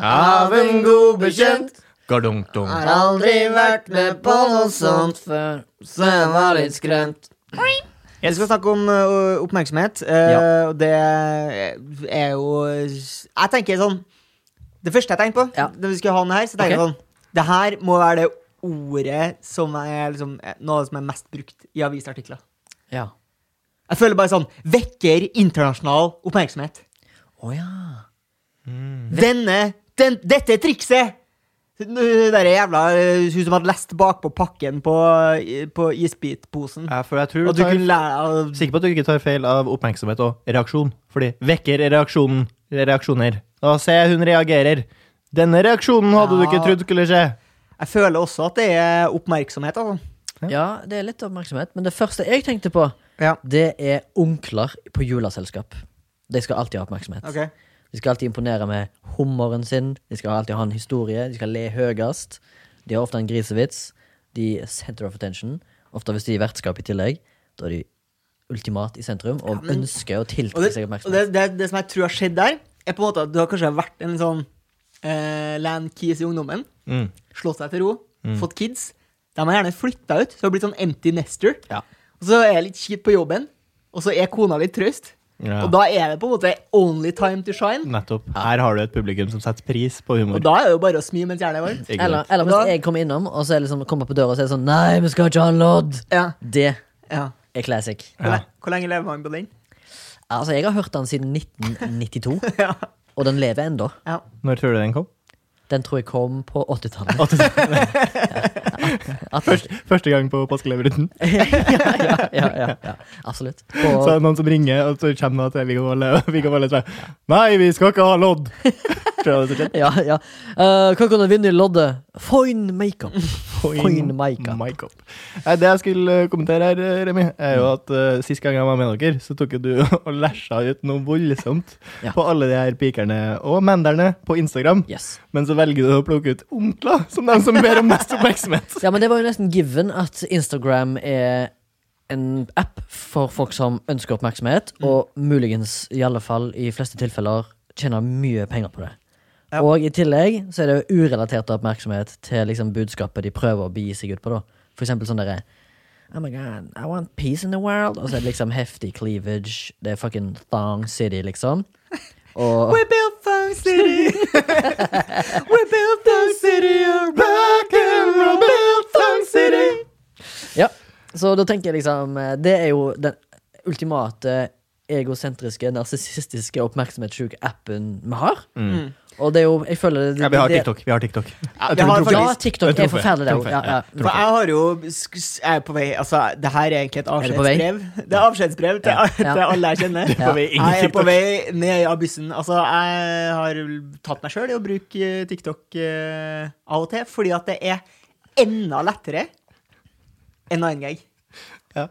Av en god bekjent Gardungdung. Har aldri vært med på noe sånt før. Så jeg var litt skremt Vi skal snakke om ø, oppmerksomhet, ø, Ja. og det er jo Jeg tenker sånn Det første jeg tenkte på Ja. da vi skulle ha den her, så tenker jeg Ok. sånn Det her må være det ordet som er liksom, noe av det som er mest brukt i avisartikler. Ja. Jeg føler bare sånn Vekker internasjonal oppmerksomhet. Å ja. Mm. Denne den, Dette trikset! Det der jævla ø, Hun som hadde lest bakpå pakken på, på isbitposen. Ja, for jeg tror Og du du tar, kunne lære altså, deg å sikker på at du ikke tar feil av oppmerksomhet og reaksjon. Fordi vekker reaksjonen reaksjoner. Da ser jeg hun reagerer. Denne reaksjonen hadde du ikke Ja. trodd skulle skje. Jeg føler også at det er oppmerksomhet. Altså. ja, det er litt oppmerksomhet. Men det første jeg tenkte på, Ja. det er onkler på juleselskap. De skal alltid ha oppmerksomhet. Ok. De skal alltid imponere med hummeren sin. De skal alltid ha en historie. De skal le høyest. De har ofte en grisevits. De er center of attention. Ofte hvis de er vertskap i tillegg. Da er de ultimat i sentrum og ønsker å Og, tiltrekke det, seg og det, oppmerksomhet. det, det som jeg tror har skjedd der, er på en måte at du har kanskje vært en sånn eh, landkeys i ungdommen. Mm. Slått deg til ro, fått kids. De har gjerne flytta ut, så har du blitt sånn empty nester. Ja. Og så er jeg litt kjipt på jobben, og så er kona litt trøst. Ja. Og da er det på en måte only time to shine. Nettopp. Her har du et publikum som setter pris på humor. Og da er det jo bare å smi mens jernet er varmt. Ikke sant? Eller, eller hvis Da- jeg kommer innom og så er det liksom, kommer på døra og så er det sånn Nei, vi skal ikke ha en lodd! Ja, Det ja. er classic. Hvor, le- hvor lenge lever man på den? Altså, jeg har hørt den *laughs* siden 1992, Ja. og den lever ennå. ja. Når tror du den kom? Den tror jeg kom på 80-tallet. *laughs* Ja, Først, første gang på påskeleveruten. *laughs* ja, ja, ja, ja, ja. Absolutt. Så På, er det noen som ringer, og så kommer det til Viggo Valle. *laughs* Og Viggo Valle sier Nei, vi skal ikke ha *laughs* lodd! Tror jeg det er så kjent. ja, ja. Eh, hva kan du vinne i loddet? Fine makeup. Fine makeup. Makeup. Nei, Det jeg skulle eh, kommentere her, eh, Remi, er Mm. jo at uh, sist gang jeg var med dere, så tok jo du *laughs* og læsja ut noe voldsomt Ja. på alle de her pikerne og menderne på Instagram. Yes. Men så velger du å plukke ut onkler som de som ber om mest *laughs* oppmerksomhet. Ja, men det var jo nesten given at Instagram er en app for folk som ønsker oppmerksomhet, og muligens, i alle fall i fleste tilfeller, tjener mye penger på det. Og i tillegg så er det jo urelatert oppmerksomhet til liksom budskapet de prøver å begi seg ut på, da. For eksempel sånn derre Oh my god, I want peace in the world. Og så er det liksom heftig cleavage. Det er fucking thong city, liksom. Og We built Fun City. *laughs* We built Fun City. Rock and roll, build Thong City. Ja, så da tenker jeg liksom eh, Det er jo den ultimate egosentriske, narsissistiske oppmerksomhetssjuke appen vi har. Og det er jo Jeg føler det, Ja, vi har det- TikTok. Vi har TikTok. vi har Jeg tror den Ja, trumfer. TikTok Den er trumfer. forferdelig, det er jo. Trumfer, Ja, ja. trumfer. For jeg har jo sk- sk- Jeg er på vei Altså, det her er egentlig et du på vei? avskjedsbrev. Det er avskjedsbrev til, Ja. *laughs* til alle jeg kjenner. på vei inn i Jeg er TikTok. på vei ned av bussen. Altså, jeg har tatt meg sjøl i å bruke eh, TikTok eh, av og til, fordi at det er enda lettere enn 9gag. Ja.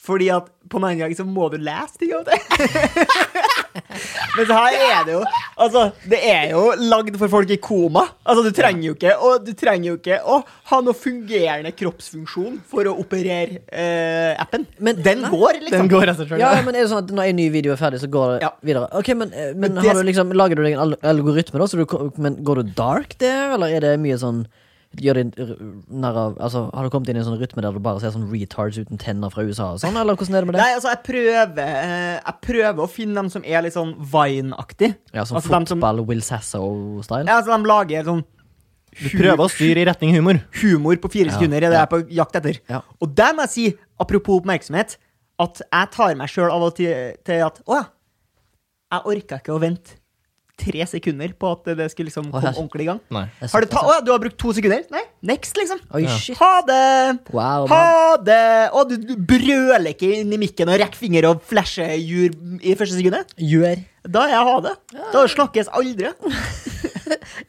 Fordi at på den ene gang så må du lese ting av og til. *laughs* Men så her er det jo Altså, det er jo lagd for folk i koma. Altså, du trenger jo ikke å, du trenger jo ikke å ha noe fungerende kroppsfunksjon for å operere eh, appen. Men- den nei. går, liksom. Den går av seg sjøl. Ja, men er det sånn at når en ny video er ferdig, så går det Ja. videre? Ok, Men, eh, men, Men det har du som- liksom, lager du deg en al- algoritme, da? Så du, ko- men går du dark der, eller er det mye sånn Gjør det en r- narr av Altså, Har du kommet inn i en sånn rytme der du bare ser sånn retards uten tenner fra USA og sånn, eller hvordan er det med det? Nei, altså, jeg prøver, eh, jeg prøver å finne dem som er litt sånn Vine-aktig. Ja, Sånn altså, dem som- fotball-Will Sasso-style? Ja, altså, de lager sånn Du prøver å styre i retning humor. humor på fire Ja, sekunder er ja. det jeg er på jakt etter. Ja. Og der må jeg si, apropos oppmerksomhet, at jeg tar meg sjøl av og til, til at Å ja. Jeg orka ikke å vente tre sekunder på at det skulle liksom Å, komme her- ordentlig i gang. Nei. Jeg Har du synes ta, å ja, du har brukt to sekunder? Nei. Next, liksom. Oi, shit. Ha det! Wow, ha man. det! Å, du, du brøler ikke inn i mikken og rekker finger og flasher jur i første sekundet? Gjør. Da er jeg ha det. Da slakkes aldri.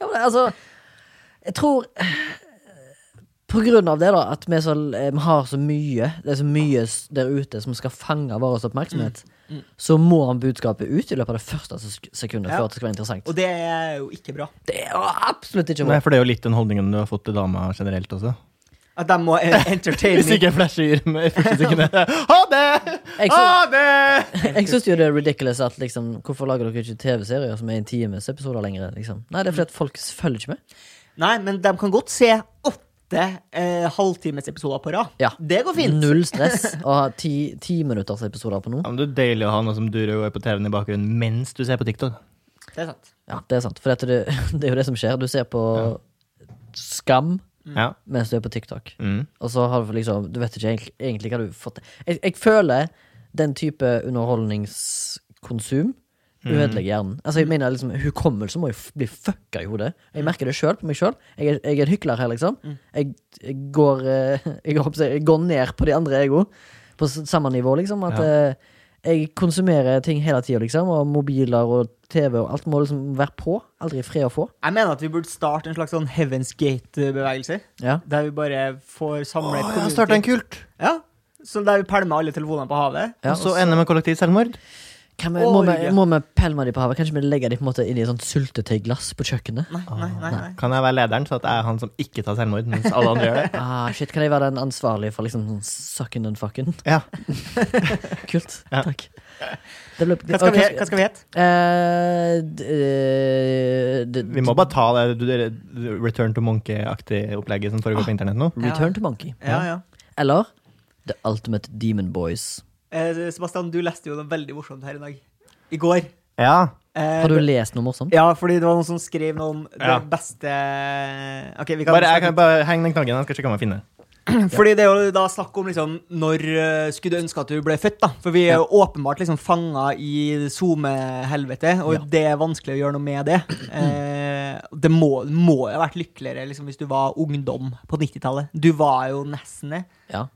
Ja, men altså Jeg tror På grunn av det, da, at vi, så, eh, vi har så mye Det er så mye s- der ute som skal fange vår oppmerksomhet, så må han budskapet ut i løpet av det første sek- sekundet Ja. for at det skal være interessant. Og det er jo ikke bra. det er jo absolutt ikke Nei, bra. for det er jo litt den holdningen du har fått til damer generelt også. At de *laughs* må eh, entertaine Hvis ikke flasher med første *laughs* sekundet. Ha det! Jeg Ha syns- det! Jeg syns jo det er ridiculous at liksom Hvorfor lager dere ikke TV-serier som er en times episoder lenger? Liksom? Nei, det er fordi at folk følger ikke med. Nei, men de kan godt se åtte eh, halvtimesepisoder på rad. Ja. Det går fint. Null stress å ha ti, ti minutters episoder på noe. Ja, men det er deilig å ha noe som durer og er på TV-en i bakgrunnen mens du ser på TikTok. Det er sant. Ja, det er sant. For dette, det, *laughs* det er jo det som skjer. Du ser på Skam Ja. mens du er på TikTok. Mm. Og så har du liksom Du vet ikke egentlig, egentlig hva du har fått jeg, jeg føler den type underholdningskonsum Mm. ødelegger hjernen. Altså jeg mener liksom Hukommelsen må jo f- bli fucka i hodet. Mm. Jeg merker det sjøl på meg sjøl. Jeg, er- jeg er en hykler her, liksom. Jeg, jeg, går, eh, *laughs* jeg, håper å si- jeg går ned på de andre, jeg òg. På s- samme nivå, liksom. At Ja. eh, jeg konsumerer ting hele tida, liksom. Og mobiler og TV og alt må liksom være på. Aldri fred å få. Jeg mener at vi burde starte en slags sånn Heaven's Gate-bevegelse. Ja. Der vi bare får samle Å, jeg har starta en kult, Ja, så Der vi pælmer alle telefonene på havet. Ja, og så ender med kollektiv selvmord. Kan vi, Å, må, vi, Norge. må vi pælme de på havet? Kanskje vi legger de på en måte inn i et sånt syltetøyglass på kjøkkenet? Nei, nei, nei. nei. Kan jeg være lederen, så at jeg er han som ikke tar selvmord, mens alle andre gjør det? *laughs* Ah, shit, Kan jeg være den ansvarlige for liksom sånn sucking and fucking? *laughs* *laughs* Ja. Kult. Ja. Takk. Det ble, Hva skal, vi, Ok, he- hva skal vi hete? eh, d- eh, d- Vi må bare ta det du- det Return to Monkey-aktige opplegget som foregår på internett nå. Return to Monkey. Ja, ja. Eller The Ultimate Demon Boys. Eh, Sebastian, du leste jo noe veldig morsomt her i dag. I går. Ja. Eh, Har du lest noe morsomt? Ja, fordi det var noen som skrev noe om det Ja. beste Ok, vi kan Bare, jeg kan bare heng den knaggen. Jeg skal sjekke om jeg finner det. Fordi det er jo da snakk om liksom, når eh, skulle du ønske at du ble født, da. For vi er jo åpenbart liksom fanga i SoMe-helvete, og det er vanskelig å gjøre noe med det. Eh, det må, må jo ha vært lykkeligere liksom, hvis du var ungdom på 90-tallet. Du var jo nesten det. Ja.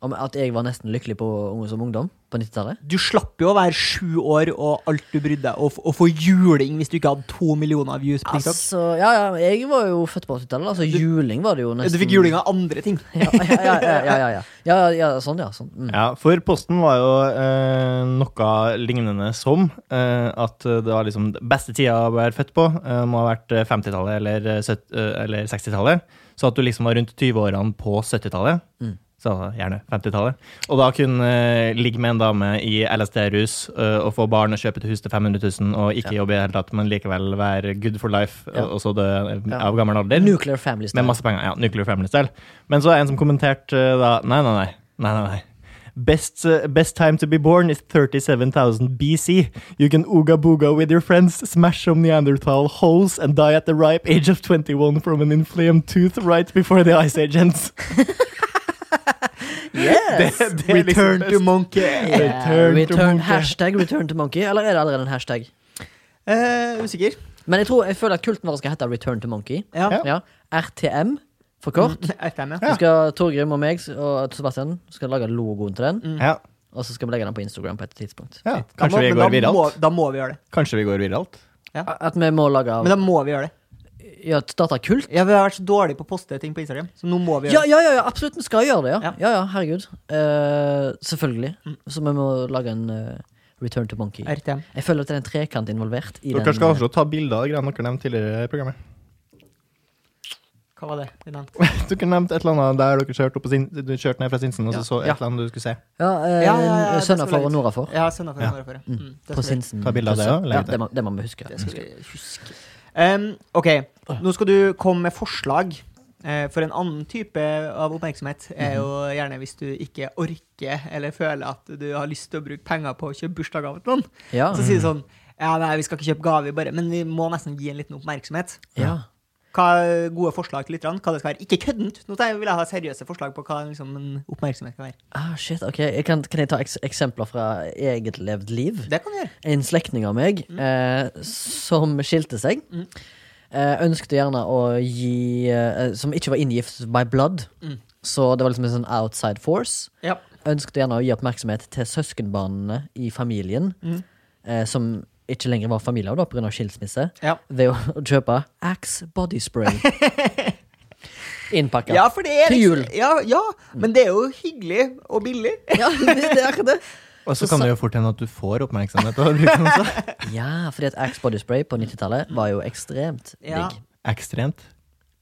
Om at jeg var nesten lykkelig på, som ungdom på 90-tallet? Du slapp jo å være sju år og alt du brydde deg og, f- og få juling hvis du ikke hadde to millioner views på TikTok. Altså, ja, ja, jeg var jo født på 80-tallet. Altså, juling var det jo nesten Du fikk juling av andre ting. *laughs* Ja, ja, ja. ja, ja, ja, ja. ja, ja sånn, ja. Sånn. Mm. Ja, for posten var jo eh, noe lignende som eh, at det var liksom beste tida å være født på, eh, må ha vært eh, 50-tallet eller, eh, sytt- eh, eller 60-tallet. Så at du liksom var rundt 20-årene på 70-tallet. Mm. Så gjerne 50-tallet. Og da kunne eh, ligge med en dame i LSD-rus eh, og få barn og kjøpe et hus til 500 000 og ikke jobbe i det hele tatt, men likevel være good for life Ja. og så dø eh, Ja. av gammel alder. Nuclear Family Style. Med masse penger. Ja, Nuclear Family Style. Men så er det en som kommenterte eh, da Nei, nei, nei. nei, nei, nei. Best, eh, best time to be born is 37,000 BC. You can ooga booga with your friends, smash some Neanderthal holes, and die at the ripe age of 21 from an inflamed tooth right before the ice age ends. *laughs* Yes! Det er liksom best. monkey. Return to Return, monkey. hashtag return to monkey, eller er det allerede en hashtag? Eh, usikker. Men jeg, tror, jeg føler at kulten vår skal hete return to monkey. Ja. Mm, Ja. RTM, for kort. FM, ja. Så skal Torgrim og meg og Sebastian skal lage logoen til den, Mm. Ja, og så skal vi legge den på Instagram på et tidspunkt. ja. Da må- Kanskje vi men går da Må, viralt? da må vi gjøre det. Kanskje vi går viralt? At vi må lage av Men da må vi gjøre det. ja, starta kult? Ja, Vi har vært så dårlige på å poste ting på Instagram, så nå må vi Ja, gjøre det. ja, ja, ja, absolutt. Vi skal gjøre det, ja. Ja. Ja, ja, herregud. Eh, selvfølgelig. Så vi må lage en eh, Return to Monkey. RTM. Jeg føler at det er en trekant involvert i Dere den. eh, skal også ta bilder av greiene dere nevnte tidligere i *laughs* programmet. Hva var det? vi nevnte? Dere nevnte et eller annet der dere kjørte, opp på sin, du kjørte ned fra Sinsen og så Ja. så et Ja. eller annet du skulle se. Ja, eh, Ja, ja, ja, det skal sønner vi for og litt. Nora for. Ja, søndag for Ja. ja. Mm, det På skal vi- Sinsen. Ta bilder av det, ja. ja. Det må, det må vi huske. Det skal vi huske. Um, ok, nå skal du komme med forslag. Eh, For en annen type av oppmerksomhet er jo gjerne hvis du ikke orker eller føler at du har lyst til å bruke penger på å kjøpe bursdagsgave til noen. Ja. Så sier du sånn Ja, nei, vi skal ikke kjøpe gave, vi bare, men vi må nesten gi en liten oppmerksomhet. ja. Hva er gode forslag til lytterne? Hva det skal være? Ikke køddent! Nå tar jeg- vil jeg ha seriøse forslag på hva liksom, en oppmerksomhet kan være. Ah, shit, ok. Jeg kan, kan jeg ta eks eksempler fra eget levd liv? Det kan du gjøre. En slektning av meg Mm. eh, som skilte seg, eh, ønskte gjerne å gi eh, Som ikke var inngift by blood, Mm. så det var liksom en sånn outside force. Ja. ønsket gjerne å gi oppmerksomhet til søskenbarnene i familien, Mm. eh, som ikke lenger var familie av da, pga. skilsmisse, Ja. ved å, å kjøpe Axe body spray. Innpakka. ja, for det er Til liksom- jul. Ja, ja, men det er jo hyggelig og billig. Ja, det, det er akkurat det. Og så kan det jo fort hende at du får oppmerksomhet. av å bruke den også. Ja, fordi at Axe body spray på 90-tallet var jo ekstremt Ja. digg. Ekstremt.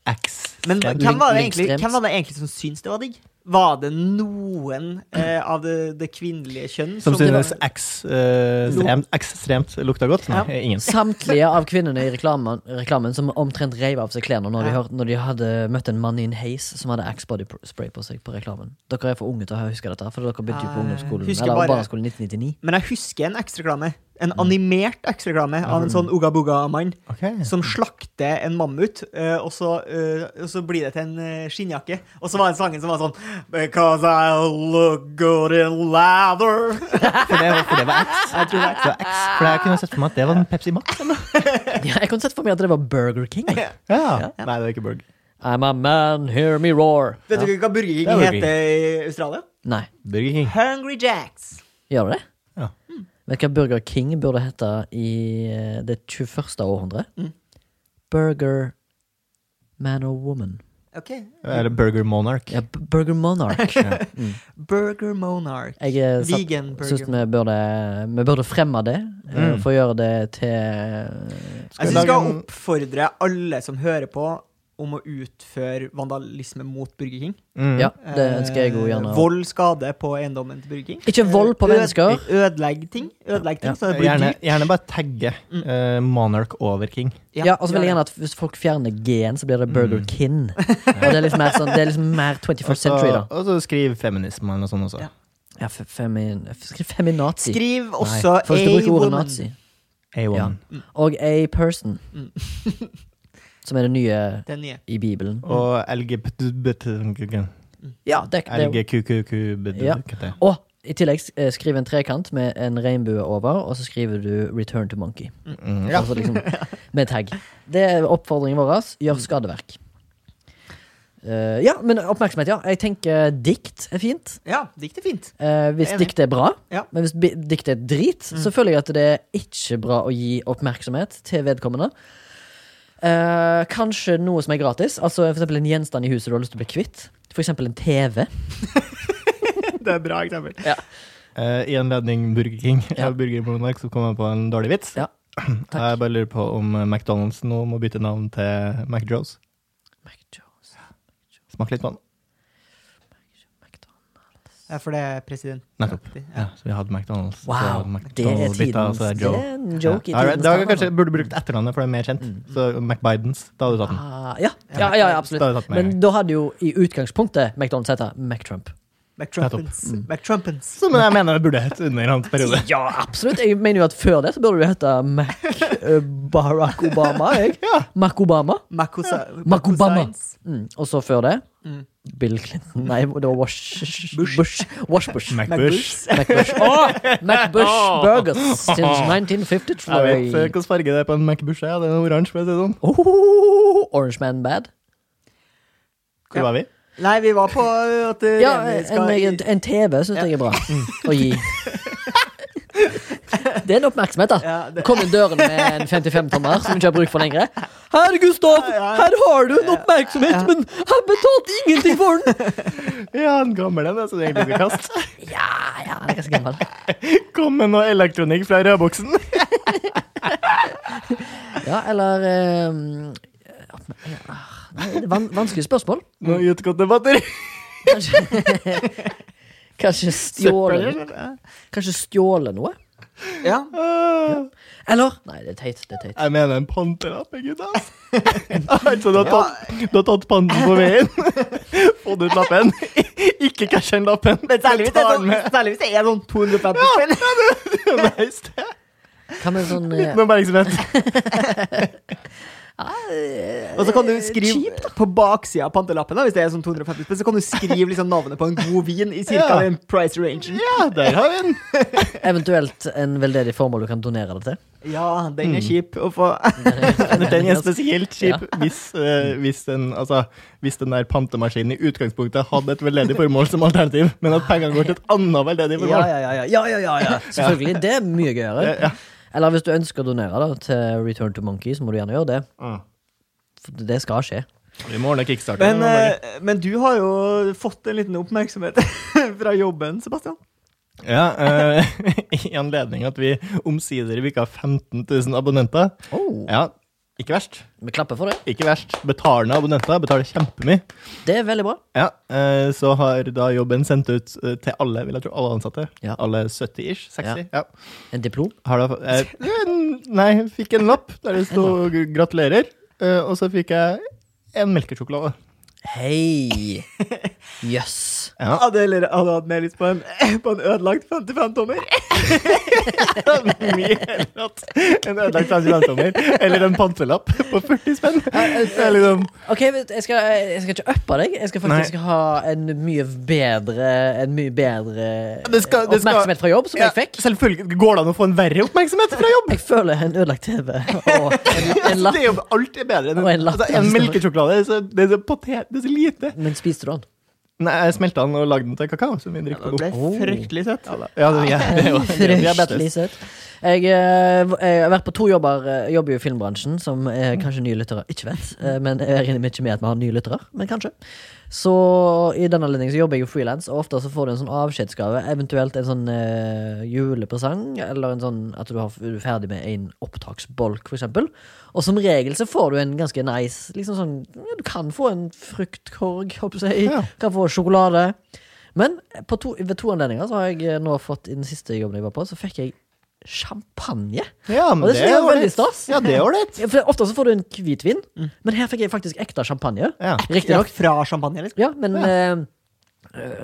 Ekstremt. Men Ja, hvem var, det link- egentlig, linkstremt. hvem var det egentlig som syntes det var digg? Var det noen eh, av det, det kvinnelige kjønn Som det var- synes eks- eh, stremt- ekstremt lukta godt? Nei, ingen. Samtlige av kvinnene i reklamen, reklamen som omtrent reiv av seg klærne når, de hørte- når de hadde møtt en mann i en heis som hadde Axe body pr- spray på seg på reklamen. Dere er for unge til å huske dette, for dere begynte jo på Eh, ungdomsskolen husker Eller bare- barneskolen 1999. Men jeg husker en ekstraklame. En animert ekstraklame av Mm. en sånn ugabuga-mann Ok. som slakter en mammut, eh, og, så, eh, og så blir det til en eh, skinnjakke. Og så var den sangen som var sånn Because I look good in leather. For det var, for det var X. Jeg tror det Det var X. For jeg kunne sett for meg at det var en Pepsi Max. eller noe. Ja, jeg kunne sett for meg at det var Burger King. jeg. Ja. Nei, det er ikke Burg. I'm a man, hear me roar. *laughs* Vet Ja. du hva Burger King Det er Burger King. heter i Australia? Nei, Burger King. Hungry Jacks. gjør du det? Ja. Mm. Vet du hva Burger King burde hete i eh, det 21. århundre? Mm. Burger Man or Woman. Ok. Eller Burger Monarch. Ja, B- Burger *laughs* Monarch. Burger Monarch. Jeg eh, satt- Vegan burger. syns vi burde, vi burde fremme det, eh, for å gjøre det til eh, Jeg vi synes vi lage skal en- oppfordre alle som hører på, om å utføre vandalisme mot Burger King. Mm. Ja, det ønsker jeg jo gjerne. Eh, Vold, Eh, skade på eiendommen til Burger King. Ikke vold på Øde- mennesker. Ødelegg ting. Ødelegg ting, Ja. så det blir Gjerne, dyrt. gjerne bare tagge eh, Monarch over King. Ja, og så vil jeg gjerne at Hvis folk fjerner G-en, så blir det Burger Kin. *laughs* Og det er liksom mer, sånn, det er liksom mer 21st century, da. og så skriv feminisme eller noe sånt også. Ja. Ja, fe- femin, skriv feminazi. Skriv Nei, også For hvis du bruker ordet A-woman. nazi. A1. Ja. Og a person. *laughs* som er det nye Den nye. i Bibelen. Og LGBTQ Mm. Ja, det, det Ja. LGQQQ Og i tillegg eh, skriv en trekant med en regnbue over, og så skriver du 'Return to Monkey'. Ja. Altså *laughs* liksom, med tag. Det er oppfordringen vår. Mm. Gjør skadeverk. Eh, ja, men oppmerksomhet, ja. Jeg tenker dikt er fint. Ja, dikt er fint. Eh, hvis Jeg er enig. dikt er bra. Ja. Men hvis bi- dikt er drit, så føler jeg at det er ikke bra å gi oppmerksomhet til vedkommende. Eh, kanskje noe som er gratis. Altså for eksempel En gjenstand i huset du har lyst til å bli kvitt. For eksempel en TV. *laughs* Det er bra eksempel. Eh, I anledning Burger King *laughs* Ja. og Burger Monarch så kom jeg på en dårlig vits. *clears throat* Ja. Jeg bare lurer på om eh, McDonald's nå må bytte navn til McJoes. Mac Jones, Smak litt på den. McDonald's. Ja, for det er president. Nettopp. Ja. Ja, så vi hadde McDonald's. så Wow, McDonald's det er bytta, tidens så det er Det Joe. er en joke i Ja, tidens Mm. det var tann, kanskje, altså. burde brukt etternavnet, for det er mer kjent. Så McBidens, da hadde du tatt den. Ah, ja. Ja, ja, ja, Da hadde du absolutt. tatt den med en Men gang. da hadde jo i utgangspunktet McDonald's heta McTrump. McTrumpens. Mm. McTrumpens. Som jeg mener det burde hett under en annen *laughs* periode. Ja, absolutt. Jeg mener jo at før det så burde det hete Mac eh, Barack Obama. Jeg. Mac Obama. Macosa, *laughs* Mac Obama. Macosains. Mm. Og så før det Mm. Bill Clinton Nei, det var Wash Bush. Wash Bush. McBush. McBush. *laughs* Åh, McBush Burgers since 1953. Jeg vet eh, hvilken farge det er på en McBush. Ja. Den er oransje. for å si det sånn. Oh, Orange Man Bad. Hvor Ja. var vi? Nei, vi var på at uh, Ja, Remi Mm. en, en, en TV syns jeg er bra å gi. Det er en oppmerksomhet, da. Ja, det- Kom inn døren med en 55-tommer som du ikke har bruk for lenger. Her, Gustav! Her har du en oppmerksomhet, men har betalt ingenting for den! Ja, en gammel en, altså. Det er egentlig ikke kast. Ja, ja, det er ganske gammel. *laughs* Kom med noe elektronikk fra rødboksen. Ja, eller eh, oppmer- ja, nei, det er van Vanskelig spørsmål. Noe utgått batteri. Kanskje, *laughs* kanskje stjåle Kanskje stjåle noe? Ja. Ah. Jeg Eller Nei, det er teit. Det er teit. mener en panterape, gutta. *laughs* Altså, du har tatt, du har tatt panten på veien, *laughs* fått ut lappen, *laughs* ikke casher den lappen. Men særlig hvis det er Tar sånn, den med. særlig hvis det er sånn 250 spenn. *laughs* Nice, det er Hva med sånn eh, Liten oppmerksomhet. Og så kan du skrive på baksida av pantelappen, da, hvis det er sånn 250 spenn, så kan du skrive liksom navnet på en god vin i cirka Ja. den price rangen. Ja, der har vi den. eventuelt en veldedig formål du kan donere det til? Ja, den Mm. er kjip å få. Den er spesielt kjip hvis, eh, hvis, den, altså, hvis den der pantemaskinen i utgangspunktet hadde et veldedig formål som alternativ, men at pengene går til et annet veldedig Ja, formål. ja, ja. ja, ja, ja, ja, ja. Selvfølgelig. Det er mye gøyere. Ja, Eller hvis du ønsker å donere da, til Return to Monkey, så må du gjerne gjøre det. Mm. For det skal skje. Vi må ordne kickstarter. Men, nå, Norge. eh, men du har jo fått en liten oppmerksomhet *laughs* fra jobben, Sebastian. ja, eh, *laughs* I anledning at vi omsider virka 15 000 abonnenter. Oh. Ja, ikke verst. Vi klapper for det. Ikke verst. Betalende abonnenter betaler kjempemye. Det er veldig bra. Ja, eh, så har da jobben sendt ut eh, til alle, vil jeg tro, alle ansatte. Ja. Alle 70-ish, 60. Ja. En diplom. Har da, eh, *laughs* en- nei, jeg fikk en lapp der det sto 'gratulerer', eh, og så fikk jeg en melkesjokolade. *laughs* Hei! Jøss. Yes. *laughs* Ja. Hadde heller hadde hatt mer lyst på en, *laughs* på en ødelagt 55-tommer. Mye heller at en ødelagt 55-tommer eller en pantelapp på 40 spenn. Det er liksom Ok, vet- jeg skal, jeg skal ikke uppe deg. Jeg skal faktisk ha en mye bedre, en mye bedre Det skal- det skal- oppmerksomhet fra jobb, som jeg fikk. Ja, selvfølgelig Går det an å få en verre oppmerksomhet fra jobb? Jeg føler en ødelagt TV og en, *laughs* en Altså, lapp. det er jo alt er bedre enn Og en lapp. altså, en melkesjokolade. Det er så, det er så potet, det er så lite. Men spiste du den? Nei, jeg smelta den og lagde den til kakao, som vi drikker nå. ble Oh. fryktelig søtt. Ja, det, *laughs* ja, det er jo det er jo Fryktelig diabetes. søt. Jeg, eh, v- jeg har vært på to jobber. Jeg jobber jo i filmbransjen, som eh, kanskje nye lyttere ikke vet. eh, Men jeg regner med ikke med at vi har nye lyttere, men kanskje. Så i den anledning så jobber jeg jo frilans, og ofte så får du en sånn avskjedsgave. Eventuelt en sånn eh, julepresang, eller en sånn at du har- du er ferdig med en opptaksbolk, for eksempel. Og som regel så får du en ganske nice liksom sånn, ja, Du kan få en fruktkorg, håper jeg. Ja. Kan få sjokolade. Men på to, ved to anledninger så har jeg eh, nå fått i den siste jobben jeg var på, så fikk jeg champagne. Ja, men Og det synes jeg er er veldig ålreit. stas. Ja, det er ålreit. Ja, For Ofte så får du en hvitvin, men her fikk jeg faktisk ekte champagne. Mm. Ja. Ja, Riktignok. fra champagne, liksom. Ja, men eh, eh,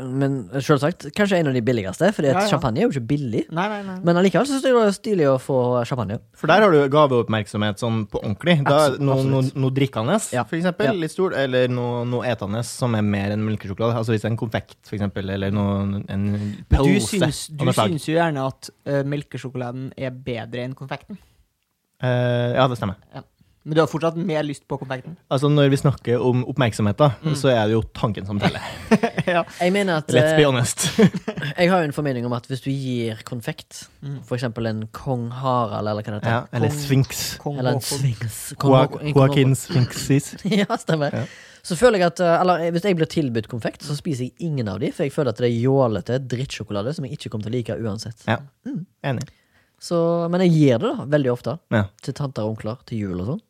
Men selvsagt, kanskje en av de billigste, Fordi at Ja, ja. champagne er jo ikke billig. Nei, nei, nei. Men allikevel så synes jeg det var stilig å få champagne. For der har du gaveoppmerksomhet sånn på ordentlig. Da, Absolutt, noe, noe, absolutt. noe drikkende, Ja. for eksempel, Ja. litt stor, eller noe, noe etende som er mer enn melkesjokolade. Altså hvis det er en konfekt, for eksempel, eller noe, en pølse. Du syns, av du noe slag. syns jo gjerne at eh, melkesjokoladen er bedre enn konfekten. Eh, Ja, det stemmer. Men du har fortsatt mer lyst på konfekten. Altså Når vi snakker om oppmerksomhet, da, Mm. så er det jo tanken *laughs* som teller. Jeg mener at Let's eh, be honest. Mm. Jeg har jo en formening om at hvis du gir konfekt, for eksempel en kong Harald, eller hva det heter, *laughs* Ja, eller Kong- Sphinx. Kong eller en Haakon. svings Joa- Joaquin Sphinxes. *laughs* Ja, stemmer. Ja. Så føler jeg at eh, Eller hvis jeg blir tilbudt konfekt, så spiser jeg ingen av de, for jeg føler at det er jålete drittsjokolade som jeg ikke kommer til å like uansett. Ja. Mm. Enig. Så, men jeg gir det da, veldig ofte. Ja. Til tanter og onkler, til jul og sånn.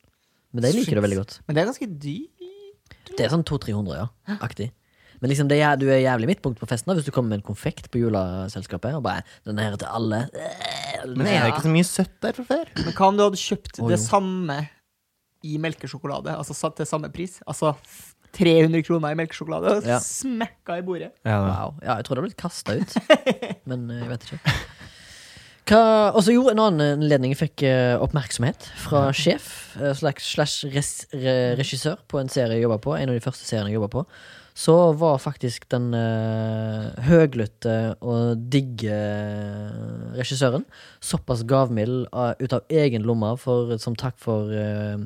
Men de liker det veldig godt. Men det er ganske dyrt. Det er sånn 200-300, ja. Aktig. Men liksom det, er- du er jævlig midtpunkt på festen da, hvis du kommer med en konfekt på juleselskapet og bare 'Den her er til alle'. Øh, Men er det ikke så mye søtt der fra før? Men hva om du hadde kjøpt Å, det jo. samme i melkesjokolade, altså satt til samme pris? Altså f- 300 kroner i melkesjokolade, og Ja. smekka i bordet. Wow. Ja, jeg tror det har blitt kasta ut. *laughs* Men eh, jeg vet ikke. Hva, og så jo, en annen anledning fikk eh, oppmerksomhet fra sjef eh, slash, slash res, re, regissør på en serie jeg jobba på. En av de første seriene jeg jobba på. Så var faktisk den eh, høglytte og digge eh, regissøren såpass gavmild av- ut av egen lomme for, som takk for eh,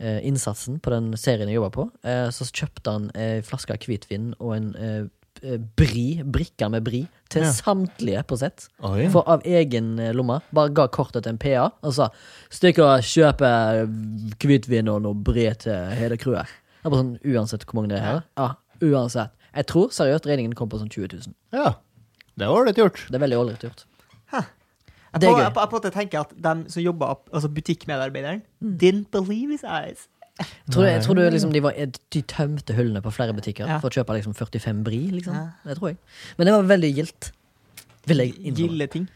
eh, innsatsen på den serien jeg jobba på, eh, så kjøpte han ei flaske hvitvin og en eh, eh, bri, brikker med bri, til Ja. samtlige på sett. Oi. For av egen eh, lomme. Bare ga kortet til en PA og sa 'Stikk og kjøp eh, hvitvin og noe bri til hele crewet'. Det er bare sånn, uansett hvor mange det er her. Ja, uansett. Jeg tror seriøst regningen kom på sånn 20 000. Ja. Det var ålreit gjort. Det er veldig ålreit gjort. Jeg Det er på, gøy. jeg, på, jeg på en måte tenker at de som jobber opp- altså butikkmedarbeideren, Mm. didn't believe his eyes. Tror du, jeg tror du liksom de, var, de tømte hyllene på flere butikker Ja. for å kjøpe liksom 45 bri, liksom? Ja. Det tror jeg. Men det var veldig gildt. Vil jeg innrømme. Gilde ting.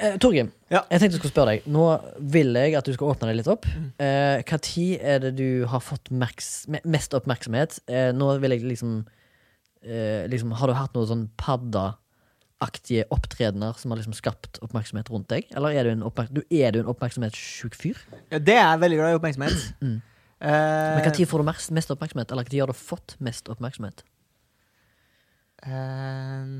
Eh, Torgrim, Ja. jeg tenkte jeg skulle spørre deg. Nå vil jeg at du skal åpne deg litt opp. Mm. Eh, hva tid er det du har fått merks, me- mest oppmerksomhet? Eh, nå vil jeg liksom, eh, liksom Har du hatt noen sånn paddeaktige opptredener som har liksom skapt oppmerksomhet rundt deg? Eller er du en, oppmerk du, er du en oppmerksomhetssjuk fyr? Ja, det er jeg veldig glad i oppmerksomhet. *clears throat* Eh, Mm. Men hva tid får du mest, mest oppmerksomhet? Eller hva tid har du fått mest oppmerksomhet? eh,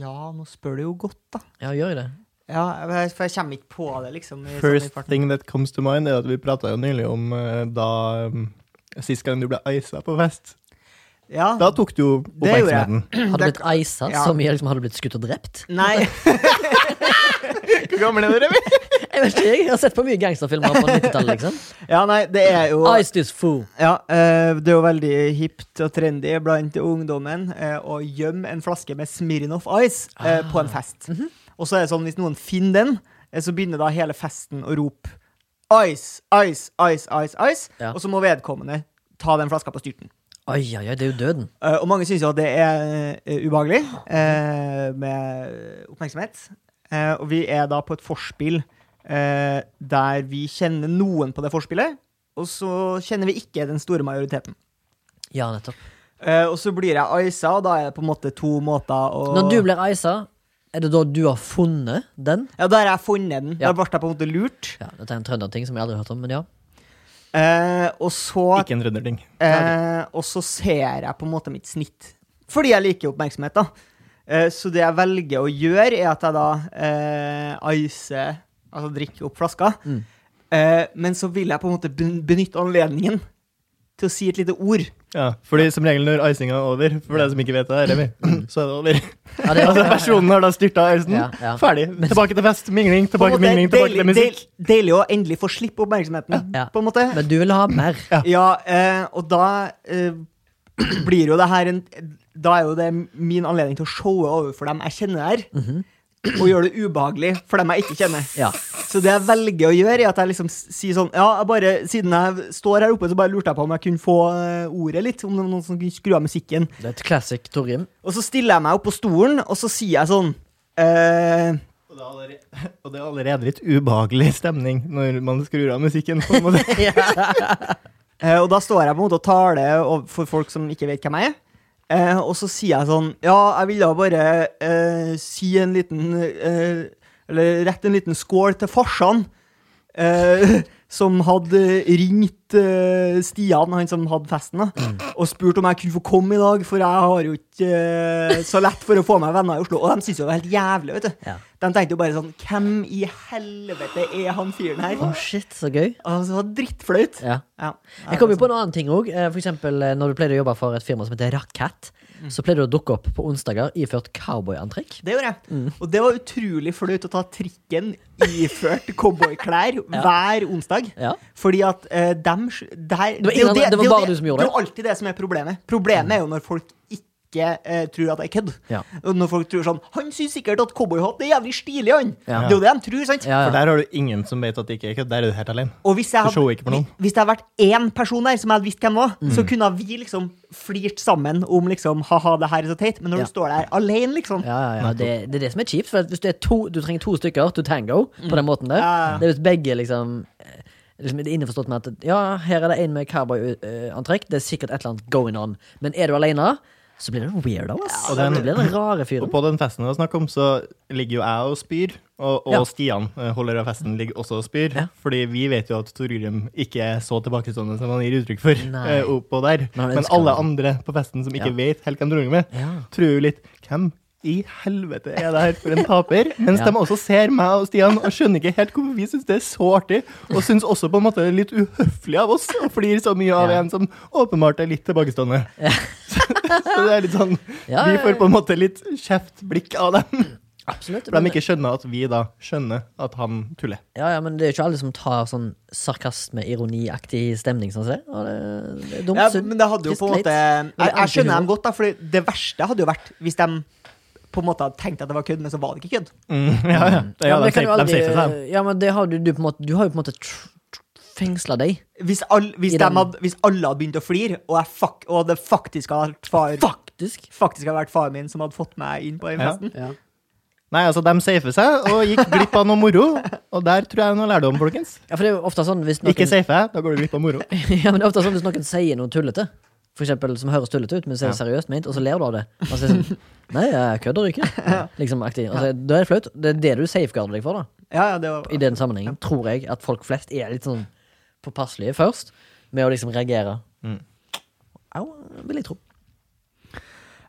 ja, nå spør du jo godt, da. Ja, gjør *clears throat* jeg det? Ja, jeg- for jeg kommer ikke på det, liksom. i- sånn i First farten. thing that comes to mind, er at vi prata jo nylig om eh, da um, Sist gang du ble isa på fest. Ja. Da tok du jo Ah. Det gjorde jeg. oppmerksomheten. Har du Det- blitt eisa ja. så mye liksom, har du blitt skutt og drept? Nei. *laughs* Hvor gammel er dere? Jeg vet ikke, jeg har sett på mye gangsterfilmer på 90-tallet, *laughs* liksom. Ja, nei, det er jo Ice this fool. Ja, eh, det er jo veldig hipt og trendy blant ungdommen eh, å gjemme en flaske med Smirnoff Ice eh, på en fest. Og så er det sånn, hvis noen finner den, eh, så begynner da hele festen å rope Ice, ice, ice, ice, ice. Ja. Og så må vedkommende ta den flaska på styrten. Oi, oi, oi, det er jo døden. Eh, og mange syns jo at det er eh, ubehagelig eh, med oppmerksomhet. Eh, og vi er da på et forspill eh, der vi kjenner noen på det forspillet, og så kjenner vi ikke den store majoriteten. Ja, nettopp. Eh, og så blir jeg isa, og da er det på en måte to måter å Når du blir eisa, er det da du har funnet den? Ja, da har jeg funnet den. Ja. Da ble jeg på en måte lurt. Ja, Dette er en trønderting som jeg aldri har hørt om, men ja. Eh, og, så, Ikke en trønderding. eh, og så ser jeg på en måte mitt snitt. Fordi jeg liker oppmerksomhet, da. Eh, så det jeg velger å gjøre, er at jeg da eh, icer Altså drikker opp flaska. Mm. Eh, men så vil jeg på en måte ben- benytte anledningen til å si et lite ord. Ja, fordi som regel når icinga er over, for deg som ikke vet det, Remi, *clears throat* så er det over. *laughs* ja det Altså, personen har da styrta isen. Ja, ja. Ferdig. Tilbake til fest, mingling, tilbake til mingling, tilbake til musikk. deil- deilig å endelig få slippe oppmerksomheten, Ja. på en måte. Men du vil ha mer. *laughs* Ja, eh, og da eh, *clears throat* blir jo det her en Da er jo det min anledning til å showe overfor dem jeg kjenner her, og gjøre det ubehagelig for dem jeg ikke kjenner. Ja. Så det jeg velger å gjøre, er at jeg liksom s- sier sånn Ja, jeg bare, siden jeg står her oppe, så bare lurte jeg på om jeg kunne få eh, ordet litt, om det var noen som kunne skru av musikken. Det er et classic Torgrim. Og så stiller jeg meg opp på stolen, og så sier jeg sånn eh, Og det er allerede- *laughs* Og det er allerede litt ubehagelig stemning når man skrur av musikken. på en *laughs* måte. Eh, og da står jeg på en måte og taler og- for folk som ikke vet hvem jeg er. Eh, og så sier jeg sånn Ja, jeg ville bare eh, si en liten eh, Eller rette en liten skål til farsan. Eh, *laughs* som hadde ringt eh, Stian, han som hadde festen, da, og spurt om jeg kunne få komme i dag, for jeg har jo ikke eh, så lett for å få meg venner i Oslo. Og de syntes jo det var helt jævlig, vet du. Ja. De tenkte jo bare sånn Hvem i helvete er han fyren her? Å, shit, så gøy. Altså, det var drittflaut. Ja. Ja. Jeg kom jo på en annen ting òg. For eksempel eh, når du pleide å jobbe for et firma som heter Rakett, Mm. så pleide du å dukke opp på onsdager iført cowboyantrekk. Det gjorde jeg. Mm. Og det var utrolig flaut å ta trikken iført cowboyklær *laughs* hver onsdag. Ja. Fordi at eh, dem sj- der, Det var er jo ingen andre- det var er jo bare du som gjorde det. er jo alltid det som er problemet. Problemet er jo når folk ikke eh, tror at det er kødd. Ja. Og Når folk tror sånn Han syns sikkert at cowboyhatt er jævlig stilig, han. Ja. Det er jo det de tror, sant? Ja, For ja. der har du ingen som vet at det ikke er kødd. Der er du helt alene. Og hvis jeg, Du så hadde, jo ikke på noen. hvis det hadde vært én person der som jeg hadde visst hvem var, Mm. så kunne vi liksom flirt sammen om liksom ha-ha, det her er så teit. Men Ja. når du står der alene, liksom Ja, ja, ja. Det, det er det som er kjipt. For at hvis du, er to, du trenger to stykker to tango på den måten der. Ja, ja. Det er hvis begge liksom eh, Liksom er innforstått med at Ja, her er det en med cowboyantrekk. Det er sikkert et eller annet going on. Men er du alene, så blir det weirdo, ass. Ja, og den- det blir den rare fyren. Og på den festen vi snakker om, så ligger jo jeg og spyr. Og, og Ja. Stian, eh, holder av festen, ligger også og spyr. Ja. Fordi vi vet jo at Torgrim ikke er så tilbakestående som han gir uttrykk for. Nei. eh, oppå der. Men han Men elsker alle han. andre på festen som ikke Ja. vet helt hvem Torgrim er, Ja. tror jo litt Hvem i helvete er det her for en taper? *laughs* Mens Ja. de også ser meg og Stian og skjønner ikke helt hvorfor vi syns det er så artig, og syns også på en måte det er litt uhøflig av oss å flire så mye av Ja. en som åpenbart er litt tilbakestående. Så, *laughs* så det er litt sånn Ja, Vi ja, får på en måte litt kjeft blikk av dem, Absolutt. for men- de ikke skjønner at vi da skjønner at han tuller. Ja, ja, men det er jo ikke alle som tar sånn sarkasme, ironiaktig stemning, sånn som det. Og det, det er dumt. Ja, synd. men det hadde jo Trist, på en måte leit. Jeg, Eller jeg skjønner antihumor. dem godt, da, for det verste hadde jo vært hvis de på en måte hadde tenkt at det var kødd, men så var det ikke kødd. Mm. *laughs* ja, ja. Mm. Ja, men de det kan sier jo de aldri sier til seg. Ja, men det har du, du på en måte Du har jo på en måte tr- tr- fengsla deg. Hvis, all, hvis, I den- dem hadde, hvis alle hadde begynt å flire, og, jeg fuck, og det faktisk hadde vært far, Faktisk. faktisk hadde vært faren min som hadde fått meg inn på den Ja. festen Nei, altså, de safer seg og gikk glipp av noe moro, og der tror jeg er noe lærdom, folkens. Ja, for det er jo ofte sånn hvis noen Ikke safe jeg, da går du glipp av moro. *laughs* Ja, men det er ofte sånn hvis noen sier noe tullete, for eksempel, som høres tullete ut, men så er det seriøst ment, og så ler du av det. Og så er det sånn Nei, jeg kødder ikke. Liksom aktig. Og så er- da er det flaut. Det er det du safeguarder deg for, da. Ja, ja, det var I den sammenhengen tror jeg at folk flest er litt sånn påpasselige først, med å liksom reagere. Mm. Au, vil jeg tro.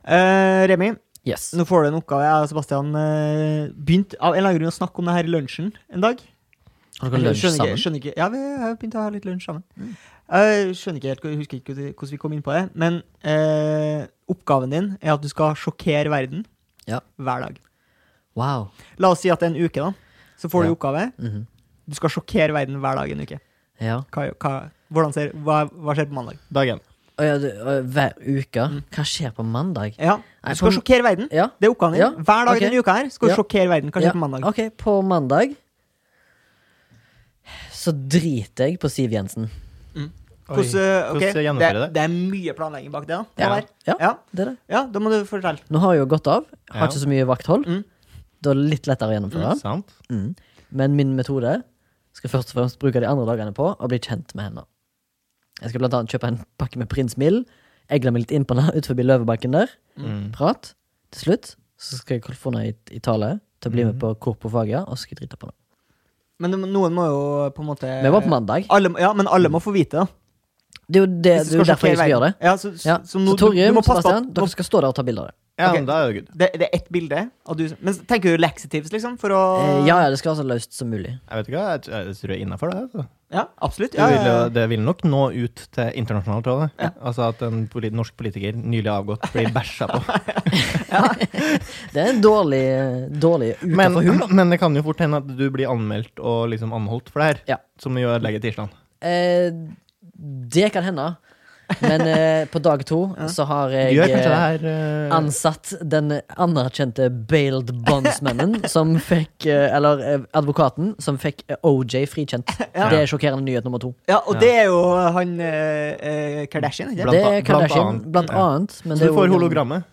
Eh, Remi, Yes. nå får du en oppgave. Jeg og Sebastian eh, begynte av en eller annen grunn å snakke om det her i lunsjen en dag. Har dere lunsj skjønner sammen? ikke, skjønner ikke, ja, vi har begynt å ha litt lunsj sammen. Jeg skjønner ikke helt, jeg husker ikke hvordan vi kom inn på det, men eh, oppgaven din er at du skal sjokkere verden Ja. hver dag. Wow. La oss si at det er en uke, da. Så får Ja. du oppgave. Mhm. Du skal sjokkere verden hver dag en uke. Ja. Hva, hva, hvordan ser, hva, hva skjer på mandag? Dagen. Og ja, du- og hver uke. Hva skjer på mandag? Ja, Nei, Du skal på- sjokkere verden. Ja. Det er oppgaven din. Ja, Hver ok. dag i denne uka her skal du Ja. sjokkere verden. Hva Ja, skjer på mandag? Ok, på mandag så driter jeg på Siv Jensen. Oi. Hvordan, eh, ok, Hvordan gjennomfører det, det? det er mye planlegging bak det. da. Ja. Det der. Ja. Ja. Det er det. ja, da må du fortelle. Nå har jeg jo gått av. Har Ja. ikke så mye vakthold. Mm. Da er det litt lettere å gjennomføre. Sant? Mm. Men min metode skal jeg først og fremst bruke de andre dagene på å bli kjent med henne. Jeg skal blant annet kjøpe en pakke med Prins Mild. Egle meg litt inn på henne ut forbi Løvebakken der. Mm. Prat. Til slutt så skal jeg få henne i, i tale til å Mm. bli med på Korpofagia, og så skal jeg drite på henne. Men det må- noen må jo på en måte Vi var på mandag. Alle, ja, men alle må få vite det. Det er jo det, det, Hvis du er jo skal derfor jeg sjokkere skal gjøre det. verden. Ja, så, så, Ja. så nå- så Torgrim, du, du må passe på Sebastian, at dere skal stå der og ta bilder av det. Ja, Ok. men da er det jo good. det, det er ett bilde. Og du, men så tenker du laxatives, liksom? For Ah. å Eh, Ja, ja, det skal være så løst som mulig. Jeg vet ikke, jeg, jeg tror jeg er innafor det. Altså. Ja, absolutt. Det, Ja, vil, ja, jo- ja. det vil nok nå ut til internasjonalt, tror jeg. Altså at en polit norsk politiker nylig avgått *laughs* blir bæsja på. Det er en dårlig, eh, dårlig uke Men, for hun. men det kan jo fort hende at du blir anmeldt og liksom anholdt for det her, Ja. som jo ødelegger tirsdagen. Eh, det kan hende. Men eh, på dag *laughs* to så har jeg Gjør kanskje det eh, her eh, ansatt den anerkjente bailed *laughs* bondsmannen som fikk eh, Eller eh, advokaten som fikk eh, OJ *laughs* frikjent. Ja. Det er sjokkerende nyhet nummer to. ja, og det er jo han eh, eh, Kardashian, ikke sant? Blant det er an- blant Kardashian, annet. blant Ja. annet. Men det Så er du jo- får hologrammet.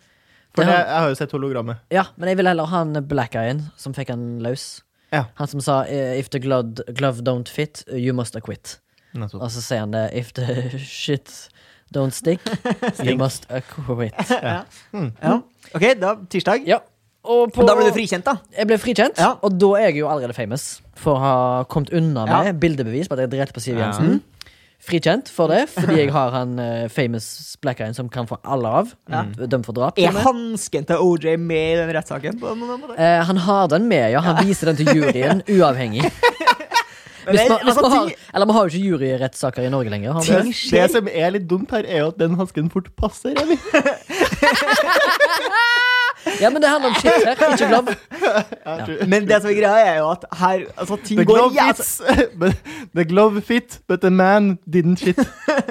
For Det det, har- jeg har jo sett hologrammet. Ja, men jeg vil heller ha en black eyen som fikk han løs. Ja. Han som sa eh, 'If the glove, glove don't fit, you must acquit'. Nettopp. Og så sier han det 'If the *laughs* shit don't *laughs* stick, you must acquit'. Ja. Ok, da tirsdag. Ja. Og på, Da blir du frikjent, da. Jeg ble frikjent, Ja. og da er jeg jo allerede famous for å ha kommet unna Ja. Mm. med bildebevis på at jeg drepte på Siv Ja. Jensen. Frikjent for *laughs* det, fordi jeg har han eh, famous black eye som kan få alle av. Ja. Dømt for drap. til og Er med. hansken til OJ med i den rettssaken? på noen måte? Eh, han har den med, ja. Han viser den til *laughs* juryen, uavhengig. Hvis det- man, hvis altså, man har, ting- eller vi har jo ikke juryrettssaker i Norge lenger. Har vi? Ting- det? Det, det som er litt dumt her, er jo at den hansken fort passer. Remi. Ja, men det handler om shit her, ikke glove. Jeg tror- Men det som er greia, er jo at her Altså, ting The går glove jævlig fits, *laughs* but, the glove fit, but the man didn't fit.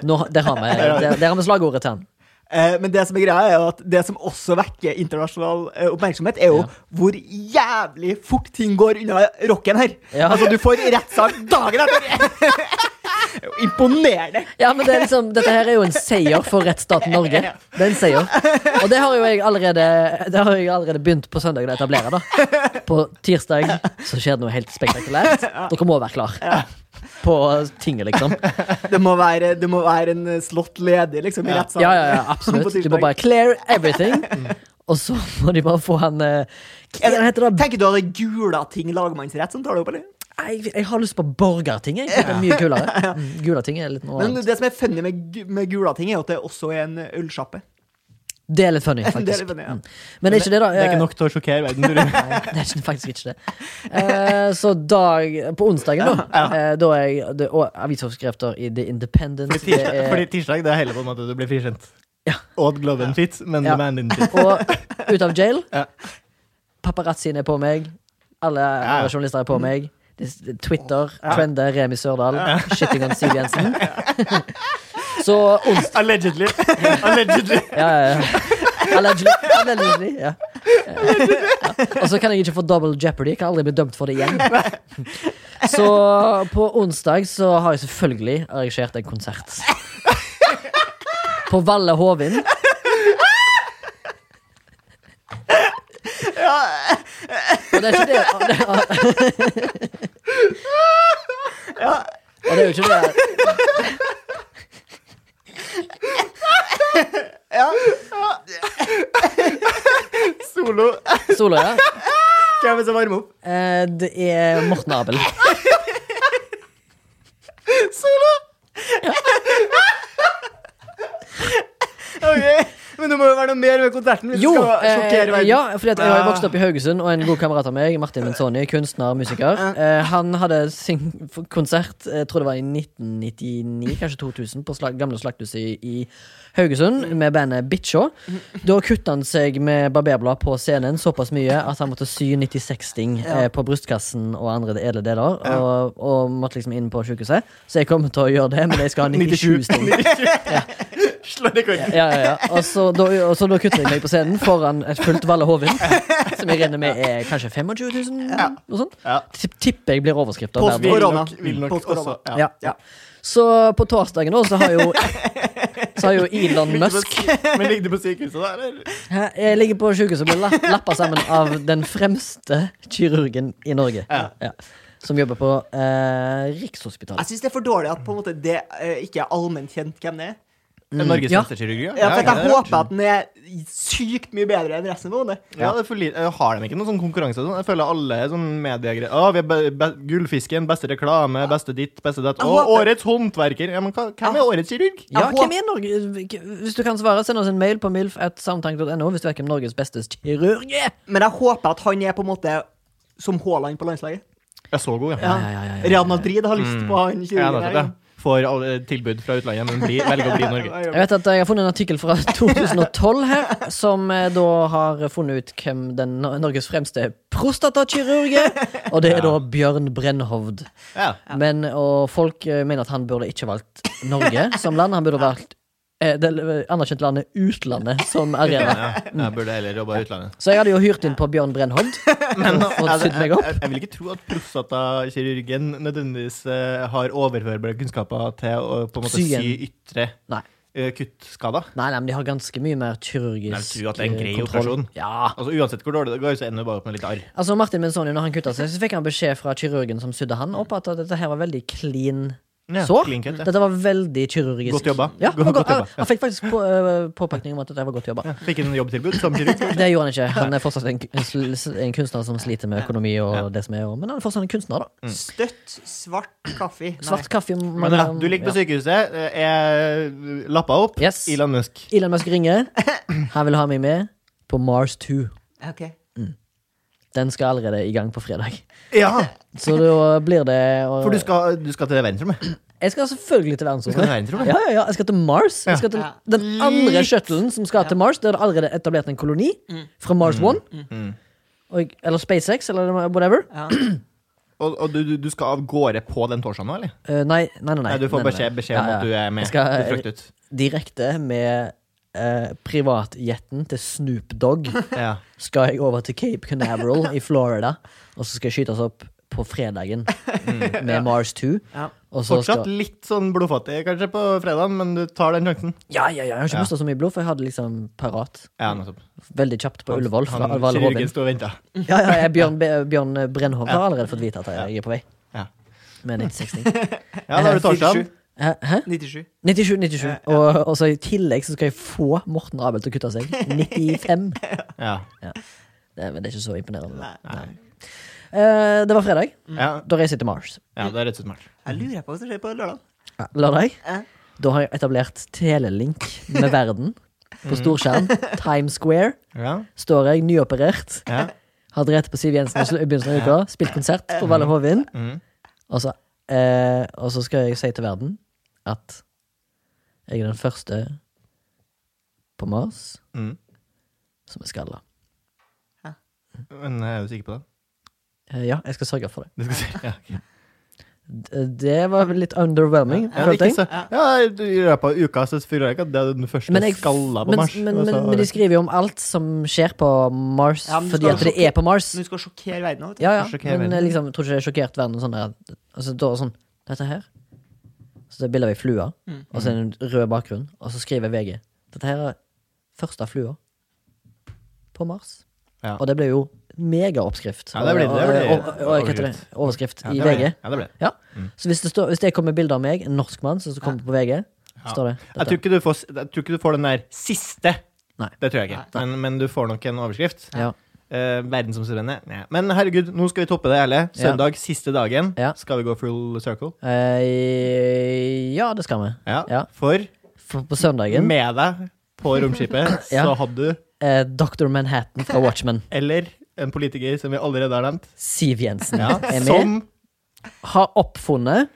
Nå, der, har vi, der, der har vi slagordet til han. Eh, Men det som er greia er jo at det som også vekker internasjonal eh, oppmerksomhet, er jo Ja. hvor jævlig fort ting går unna rocken her. Ja. Altså, du får rettssak dagen etter! *laughs* Imponerende. Ja, men det er liksom, Dette her er jo en seier for rettsstaten Norge. Det er en seier. Og det har jo jeg allerede Det har jeg allerede begynt på søndagen å etablere. da På tirsdag så skjer det noe helt spektakulært. Dere må være klar på tinget, *laughs* liksom. Det må være, det må være en eh, slått ledig, liksom, i rettssaken. Ja, ja, ja, absolutt. På tirsdag. De må bare clear everything. Og så må de bare få han eh, Hva Mm. er det heter det? Tenker du at det er Gulating lagmannsrett som tar det opp, eller? Jeg, jeg har lyst på borgerting. Jeg. Det er mye kulere. Mm, Gulating er litt noe Men annet. det som er funny med, gu- med Gulating, er jo at det også er en eh, ølsjappe. Det er litt funny, Det er litt faktisk. funny, ja. Mm. Men det er ikke det, da. Det er ikke nok til å sjokkere verden, tror jeg. Nei, *laughs* altså, det er ikke, faktisk ikke det. Eh, så dag På onsdagen, da. eh, da er jeg det, og avisoverskrifter i The Independent. *laughs* Fordi Det tirsdag, fordi er, tirsdag det er heller på en måte du blir frikjent. Ja. Odd Gloven fit, men Ja. the man didn't *laughs* fit. og ut av jail. Ja. Paparazziene er på meg. Alle Ja. journalister er på meg. Det- det- Twitter, trender, Remi Sørdal, shitting on Siv Jensen. *laughs* Så ons- Allegedly. Allegedly. Ja, ja, ja. Allegedly. Allegedly ja. Ja. Og så kan jeg ikke få double jeopardy. Jeg kan aldri bli dømt for det igjen. Så på onsdag så har jeg selvfølgelig arrangert en konsert. På Valle Hovin. Og det er ikke det Og det er jo ikke det Solo. Soløya. Ja. Hvem er det som varmer opp? Eh, Det er Morten Abel. Ok, Men det må jo være noe mer ved konserten. Hvis Jo, det skal sjokkere eh, verden ja, fordi at jeg har jo vokst opp i Haugesund, og en god kamerat av meg, Martin Menzoni, kunstner, musiker, eh, han hadde sin f- konsert, jeg tror det var i 1999, kanskje 2000, på slag, gamle slakthuset i, i Mm. Haugesund, med bandet Bitchå. Da kutta han seg med barberblad på scenen såpass mye at han måtte sy 96 sting eh, på brystkassen og andre edle deler, og, og måtte liksom inn på sjukehuset. Så jeg kommer til å gjøre det, men jeg skal ha 97 sting *laughs* Slå rekorden. ja, ja, ja. Og så da, og så da kutter jeg meg på scenen foran et fullt Valle Hovin, som jeg regner med er kanskje 25 000, noe sånt. Ja. Tipp- Tipper jeg blir overskrifta. Post- Vil Korona. nok, vil nok Post-korona. også. Ja. Ja. Ja. Så på torsdagen nå, så har jo Så har jo Elon Musk *laughs* *laughs* Men ligger du på sykehuset da, eller? Hæ? Jeg ligger på sjukehuset og blir lapp, lappa sammen av den fremste kirurgen i Norge. Ja. Altså, Som jobber på eh, Rikshospitalet. Jeg syns det er for dårlig at på en måte, det eh, ikke er allment kjent hvem det er. Norges Ja. beste kirurg, Mm. ja. Ja, for at det jeg er håper at den er sykt mye bedre enn resten av noen. Ja, det er for lite. Har de ikke noen sånn konkurranse? og Sånn? Jeg føler alle er sånn mediegreier. Å, vi er be be gullfisken, beste reklame, beste ditt, beste datt. Å, håper- årets håndverker. Ja, men hva, hvem er årets kirurg? Ja, Jeg hvem er Norge? Hvis du kan svare, send oss en mail på milf.soundtank.no hvis du vet hvem Norges beste kirurg er. Men jeg håper at han er på en måte som Haaland på landslaget. Jeg er så god, ja. Ja, ja, ja, ja, ja. Real Madrid har lyst på han Jeg er kirurgen nettopp, der. ja. Får alle tilbud fra utlandet, men blir- velger å bli i Norge. Ja, Jeg vet at jeg har funnet en artikkel fra *laughs* 2012 her, som eh, da har funnet ut hvem den Nor- Norges fremste prostatakirurg er. Og det er da Bjørn Brennhovd. Ja. Men, og folk eh, mener at han burde ikke valgt Norge som land. Han burde valgt eh, det anerkjente landet utlandet som arena. Ja, jeg burde heller jobbe i utlandet. Så jeg hadde jo hyrt inn på Bjørn Brennhovd. Og Altså, sydd jeg, meg opp. jeg, jeg vil ikke tro at prostatakirurgen nødvendigvis eh, har overførbare kunnskaper til å på en måte Syen. sy ytre Nei. eh, kuttskader. Nei, nei, men de har ganske mye mer kirurgisk Jeg tror at det er en grei eh, kontroll. operasjon. Ja. Altså Uansett hvor dårlig det går, så ender du bare opp med litt arr. Altså Martin Menzoni, når han kutta seg, så fikk han beskjed fra kirurgen som sydde han opp, at dette her var veldig clean Ja, sår. clean cut, ja. Dette var veldig kirurgisk. Godt jobba. Ja, Go- han, godt jobba, ja. han fikk faktisk på, øh, påpakning om at dette var godt jobba. Ja, Fikk en jobbtilbud som kirurg. *laughs* Det gjorde han *laughs* ikke. Han er fortsatt en, en sl- en kunstner som sliter med økonomi og det som er, og- men han er fortsatt en kunstner, da. Mm. Støtt svart kaffe. Nei. Svart kaffe Men ja, du ligger på ja. sykehuset, eh, er lappa opp. Yes. Elon Musk. Elon Musk *laughs* ringer. Han vil ha meg med på Mars 2. Ok. Den skal allerede i gang på fredag. Ja, Så da blir det og, For du skal, du skal til verdensrommet? Jeg skal selvfølgelig til Du skal til verdensrommet. verdensrommet? Eh, *laughs* Ja, ja, ja, jeg skal til Mars. Jeg skal til Ja. den andre shuttlen som skal til Mars. Der er det allerede etablert en koloni Mm. fra Mm. Mars One. Og, eller SpaceX, eller whatever. Ja. Og, og du, du- du skal av gårde på den torsdagen nå, eller? Eh, nei, nei, nei, nei. Nei, du får nei, nei, beskjed, nei. beskjed om Ja, ja. at du er med. Jeg skal- du frykter ut. Direkte med eh, privatjetten til Snoop Dogg Ja. skal jeg over til Cape *laughs* Canaveral i Florida. Og så skal jeg skytes opp på fredagen med Mars 2. Ja. Og så Fortsatt skal litt sånn blodfattig kanskje på fredagen, men du tar den sjansen. Ja, ja, ja, jeg har ikke Ja. mista så mye blod, for jeg hadde liksom parat. Ja, nettopp. Veldig kjapt på Ullevål. fra Han- Alvale Hovin. Kirurgen står og venter. Ja, ja, jeg, Eh, Bjørn, Be- Bjørn Brennhov har allerede fått vite at jeg, jeg er på vei. Ja. Med 96. Ja, *laughs* da er det torsdagen. 97. Hæ? Hæ? 97. 97, 97. Og, og så i tillegg så skal jeg få Morten Abel til å kutte seg. 95. Ja. Det, men det er ikke så imponerende. da. Nei. Eh, det var fredag. Ja. Da reiser jeg til Mars. Mm. ja, det er rett og slett smart. Jeg lurer på hva som skjer på lørdag. Eh, Lørdag. Ja. Da har jeg etablert telelink med verden. på storskjerm, Times Square, Ja, står jeg nyoperert, ja. har drept på Siv Jensen i slu- i begynnelsen av uka, spilt konsert på Valle Hovin, Mm. og så, eh, og så skal jeg si til verden at jeg er den første på Mars Mm. som er skalla. Men er du sikker på det? Eh, Ja, jeg skal sørge for det. Du skal si. Ja, *laughs* ok. D- eh, Det var vel litt underwhelming. ja, følte ikke jeg. så. ja, du- I løpet av uka så føler jeg ikke at det er den første Men jeg- skalla på men, Mars. Altså, Men, og men, så- men de skriver jo om alt som skjer på Mars, Ja, men fordi skal at det er på Mars. Men du skal sjokkere verden òg. Ja, ja, skal sjokkere men verden. jeg liksom, tror ikke det er sjokkert verden. og Sånn der, at- altså, da er det sånn Dette her. Så det er bilde av ei flue, og så er det en rød bakgrunn, og så skriver VG Dette her er første flua på Mars. Ja. Og det ble jo megaoppskrift. Ja, det blir- det blir- og, og, og, og, hva heter det? Overskrift ja, i det ble VG. det. Ja, det ble det. Ja. Så hvis det, står, hvis det kommer bilde av meg, en norsk mann, som kommer på VG, Ja. så står det Jeg tror, dette. ikke du får, jeg tror ikke du får den der siste. Nei. Det tror jeg ikke. Nei. Men, men du får nok en overskrift. Ja. Eh, verdensomspennende. Nei. Men herregud, nå skal vi toppe det hele. Ja. Søndag, siste dagen, Ja. skal vi gå full circle. Eh, ja, det skal vi. Ja. Ja. For For på søndagen med deg på romskipet *laughs* Ja. så hadde du, eh, Dr. Manhattan fra Watchmen, eller en politiker som vi allerede har nevnt, Siv Jensen, ja, *laughs* er med. som Har oppfunnet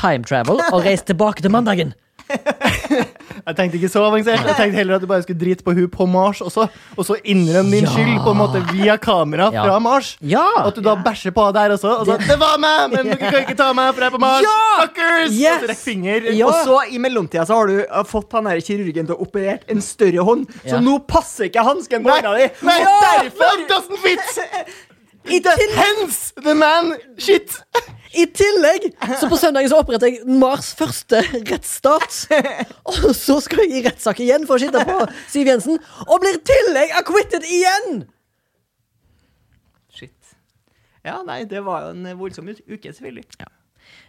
time travel og reist tilbake til mandagen. Jeg tenkte ikke så avansert. Jeg tenkte heller at du bare skulle drite på hun på Mars også, og så innrømme din Ja. skyld på en måte via kamera Ja. fra Mars. Ja! Og at du da bæsjer på der også. Og så, 'Det var meg, *laughs* men dere kan ikke ta meg, for jeg er på Mars!' Ja! Fuckers! Yes! Og så rekk finger. Ja. Og så I mellomtida så har du uh, fått han her kirurgen til å operere en større hånd, så Ja. nå passer ikke hansken på hånda di. Nei, Og derfor doesn't fit! Hence the man shit! I tillegg så på søndagen så oppretter jeg Mars første rettsstat. Og så skal jeg i rettssak igjen for å sitte på Siv Jensen, og blir i tillegg acquitted igjen! Shit. Ja, nei, det var jo en voldsom ut- uke, selvfølgelig.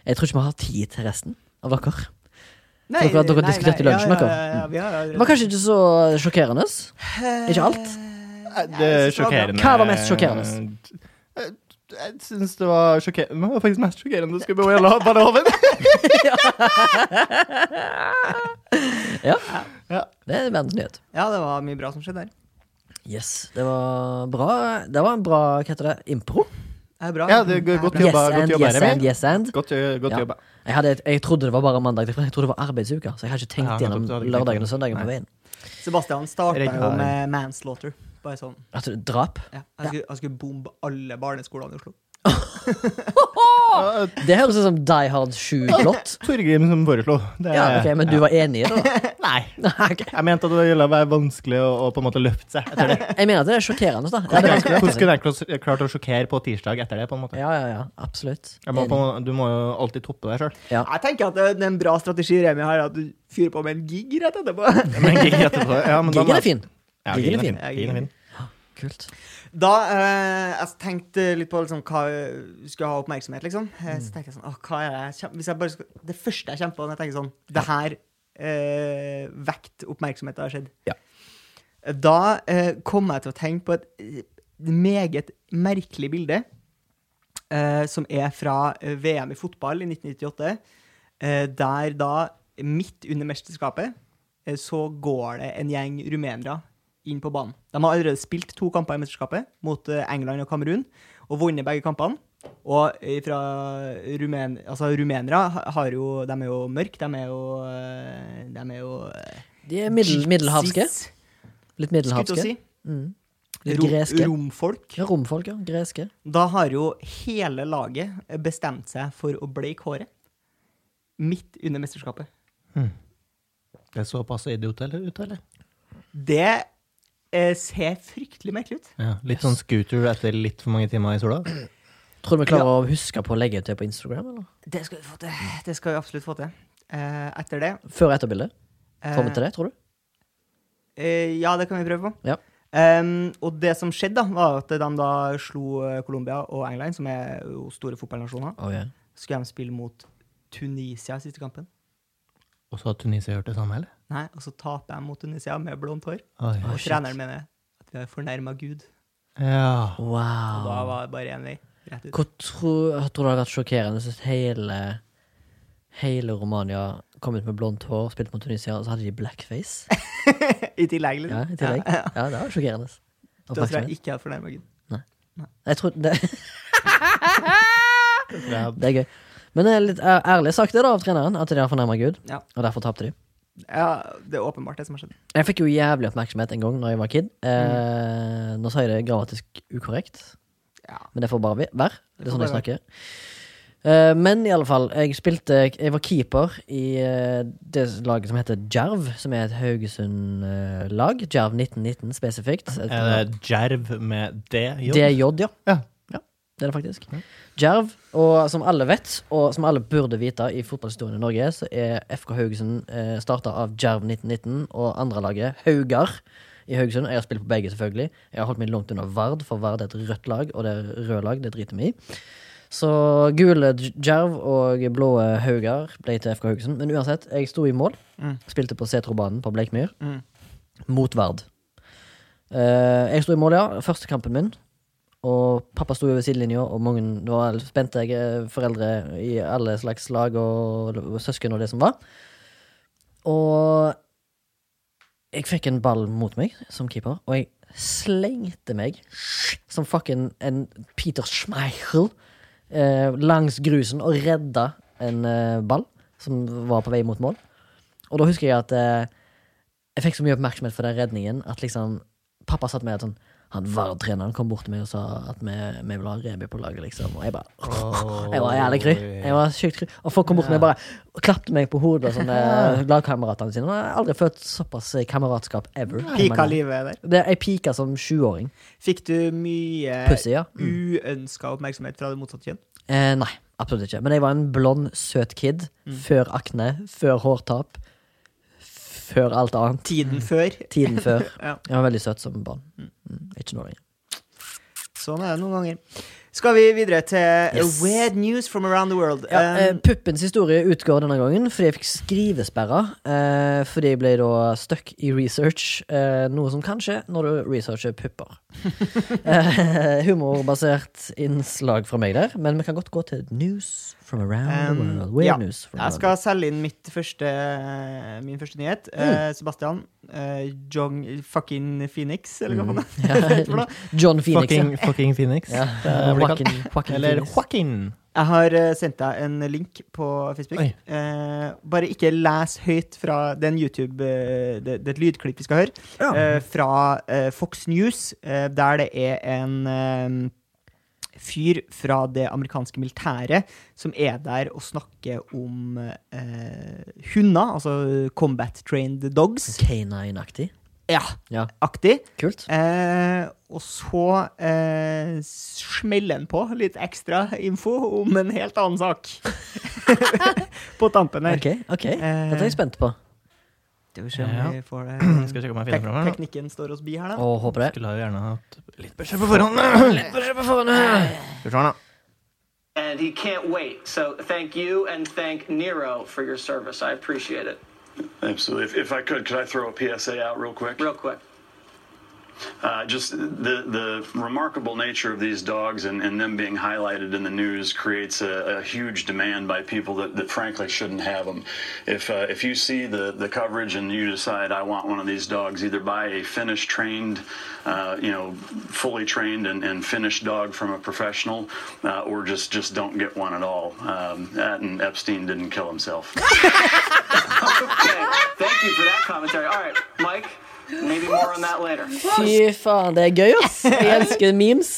Jeg tror ikke vi har tid til resten av dere. Nei, Dere- dere diskuterte nei, lunsjen, ja, dere? Ja, ja, ja, vi har Det var kanskje ikke så sjokkerende. Ikke alt. Det er sjokkerende. Hva var mest sjokkerende? Jeg- Jeg syns det var sjokkerende. Det var faktisk mest sjokkerende du skulle bo i Badehoven. Ja, Ja. det er verdens nyhet. Ja, det var mye bra som skjedde der. Yes, det var bra. Det var en bra hva heter det, impro. Det er bra. Ja, det er godt Yes jobba, godt and, jobba, yes Remi. and, yes and. *laughs* Godt, ø- godt Ja. jobba. Jeg, hadde, et- jeg trodde det var bare mandag, jeg trodde det var arbeidsuka. Så jeg hadde ikke tenkt Ja, nettopp, gjennom du hadde ikke tenkt lørdagen og gjennom. søndagen på Nei. veien. Sebastian starta Regner jo her. med manslaughter. Bare sånn. Altså, drap? Ja. Jeg, skulle, jeg skulle bombe alle barneskolene i Oslo. Ja, Det høres ut som Die Hard 7-plott. Torgrim som foreslo. Det er- Ja, ok, men du var enig i *laughs* det? da? Nei. Nei, ok. Jeg mente at det gjelder å være vanskelig og, og på en måte løfte seg etter det. Jeg mener at det er sjokkerende, da. Ja, det er Hvordan vanskelig å skulle løfte seg. jeg klart- klart å sjokkere på tirsdag etter det? på en måte? ja, ja, ja, absolutt. Jeg må, på, en måte- du må jo alltid toppe deg sjøl. Ja. Jeg tenker at det det er en bra strategi Remi har, at du fyrer på med en gig rett etterpå. *laughs* Men gig etterpå. Ja, men da må- Giggen er fin. Ja, Giggen giggen er er fin. fin. Giggen er fin. Kult. Da eh, jeg tenkte litt på liksom, hva jeg skulle ha oppmerksomhet, liksom. Eh, Så tenkte jeg sånn, åh, hva er det jeg kjem- Hvis jeg bare skal, Det første jeg kjemper på, når jeg tenker sånn Det her eh, vekt oppmerksomhet det har skjedd. Ja. Da eh, kom jeg til å tenke på et eh, meget merkelig bilde. eh, som er fra eh, VM i fotball i 1998. eh, der da, midt under mesterskapet, eh, så går det en gjeng rumenere inn på banen. De har allerede spilt to kamper i mesterskapet, mot eh, England og Kamerun, og vunnet begge kampene. Og eh, fra rumen, altså rumenere ha- har jo De er jo mørke, de er jo eh, De er jo eh, De er middel, middelhavske. gypsies, Litt skulle jeg til å middelhavske. si. Litt Rom- greske. Romfolk. Ja, Romfolk, ja. Greske. Da har jo hele laget bestemt seg for å bleike håret midt under mesterskapet. Det så passe idiot eller- ut, eller? Det eh, ser fryktelig merkelig ut. Ja, litt sånn scooter etter litt for mange timer i sola. Tror du vi klarer å huske på å legge ut det på Instagram? eller? Det skal vi få til. Det skal vi absolutt få til. Eh, etter det Før- og etterbildet? eh, Kommer vi til det, tror du? Eh, ja, det kan vi prøve på. Ja. Ehm, og det som skjedde, da, var at de da slo eh, Colombia og England, som er jo store fotballnasjoner. Oh, ja. Så skulle de spille mot Tunisia i siste kampen. Og så har Tunisia gjort det samme, eller? Nei, Og så taper de mot Tunisia med blondt hår. Oi. og treneren mener at vi har fornærma Gud. Ja. Wow. Da var det bare én vei. Rett ut. Hvor tro, jeg tror det hadde vært sjokkerende hvis hele, hele Romania, kom ut med blondt hår, spilte mot Tunisia, og så hadde de blackface. I tillegg, liksom. Ja, i tillegg. Ja, ja. Ja, det var sjokkerende. Da tror jeg Oppmerksomhet. ikke jeg hadde fornærma Gud. Jeg *laughs* tror det, Ja, det er gøy. Men det er litt æ- ærlig sagt det da av treneren, at de har fornærma Gud, Ja. og derfor tapte de. Ja, det er åpenbart det som har skjedd. Jeg fikk jo jævlig oppmerksomhet en gang da jeg var kid. Eh, Mm. nå sier jeg det grammatisk ukorrekt, Ja. men det får bare vi- være. Det er sånn Det jeg får bare snakker. Eh, men i alle fall, jeg spilte Jeg var keeper i eh, det laget som heter Djerv, som er et Haugesund-lag. Djerv 1919 spesifikt. Et- Er det djerv med DJ? DJ, ja. Ja. Det er det faktisk. Djerv, og som alle vet, og som alle burde vite i fotballhistorien i Norge, så er FK Haugesund eh, starta av Djerv 1919 og andrelaget Haugar i Haugesund. Jeg har spilt på begge, selvfølgelig. Jeg har holdt meg langt unna Vard, for Vard er et rødt lag, og det er rød lag, det driter vi i. Så gule Dj- Djerv og blå Haugar ble til FK Haugesund. Men uansett, jeg sto i mål. Mm. Spilte på Setrobanen på Bleikmyr. Mm. Mot Vard. Eh, jeg sto i mål, ja. Første kampen min. Og pappa sto jo ved sidelinja, og mange det var spente jeg, eh, foreldre i alle slags lag og, og søsken og det som var. Og jeg fikk en ball mot meg som keeper, og jeg slengte meg som fucking en Peter Schmeichel eh, langs grusen og redda en eh, ball som var på vei mot mål. Og da husker jeg at eh, jeg fikk så mye oppmerksomhet for den redningen at liksom Pappa satt med et sånn Han var treneren, kom bort til meg og sa at vi, vi vil ha Reby på laget, liksom. Og jeg bare *laughs* Jeg var jævlig kry. Jeg var sykt kry. Og folk kom bort til meg og bare klapte meg på hodet og sånn eh, lagkameratene sine. Og Jeg har aldri følt såpass eh, kameratskap ever. Pika livet der. Det, jeg pika som sjuåring. Fikk du mye Pussig, ja. Mm. uønska oppmerksomhet fra det motsatte kjønn? Eh, nei, absolutt ikke. Men jeg var en blond, søt kid. Før akne, før hårtap, før alt annet. Tiden før. Tiden før. Ja. Jeg var veldig søt som barn. Mm, ikke nå lenger. Sånn er det noen ganger. Skal vi videre til Yes. Weird news from around the world. Ja, eh, Um, puppens historie utgår denne gangen fordi jeg fikk skrivesperre. Eh, fordi jeg ble da stuck i research, eh, noe som kan skje når du researcher *laughs* pupper. eh, humorbasert innslag fra meg der, men vi kan godt gå til news from around Um, the world. Weird ja. news from jeg around skal selge inn mitt første, min første nyhet. Mm. Eh, Sebastian. eh, Jong fucking Phoenix, eller hva Mm. faen the det *laughs* world. *laughs* heter for noe. John Phoenix. ja. Fucking, fucking Phoenix. Ja. Eh, blir kalt- Joaquin, Joaquin Eller Phoenix. Joaquin. Jeg har eh, sendt deg en link på Facebook. Oi. Eh, bare ikke les høyt fra den YouTube eh, det, det er et lydklipp vi skal høre. Ja. Eh, fra eh, Fox News, eh, der det er en eh, fyr fra det amerikanske militæret som er der og snakker om eh, hunder, altså combat trained dogs. Canine-aktig. Ja, Ja. aktig. Kult. Eh, og så eh, smeller han på litt ekstra info om en helt annen sak. *laughs* på tampen her. Eh, Ok, ok. Dette er jeg spent på. Skal vi se om vi får det Jeg *clears throat* skal sjekke om jeg Tek finner fram her. nå. Teknikken står oss bi her, da. Og håper det. Skulle jo gjerne hatt litt beskjed på forhånd. Litt beskjed på forhånd. Skal vi se her, da. And he can't wait. So thank you and thank Nero for your service. I appreciate it. Absolutely. If, if I could, could I throw a PSA out real quick? Real quick. *laughs* Uh, just the, the remarkable nature of these dogs and, and them being highlighted in the news creates a, a huge demand by people that, that frankly shouldn't have them. If, uh, if you see the, the coverage and you decide I want one of these dogs, either buy a finished trained, uh, you know, fully trained and, and finished dog from a professional, uh, or just, just don't get one at all. Um, that and Epstein didn't kill himself. Okay. thank you for that commentary. All right, Mike, maybe more on that later. Fy faen, det er gøy, ass. Jeg elsker memes.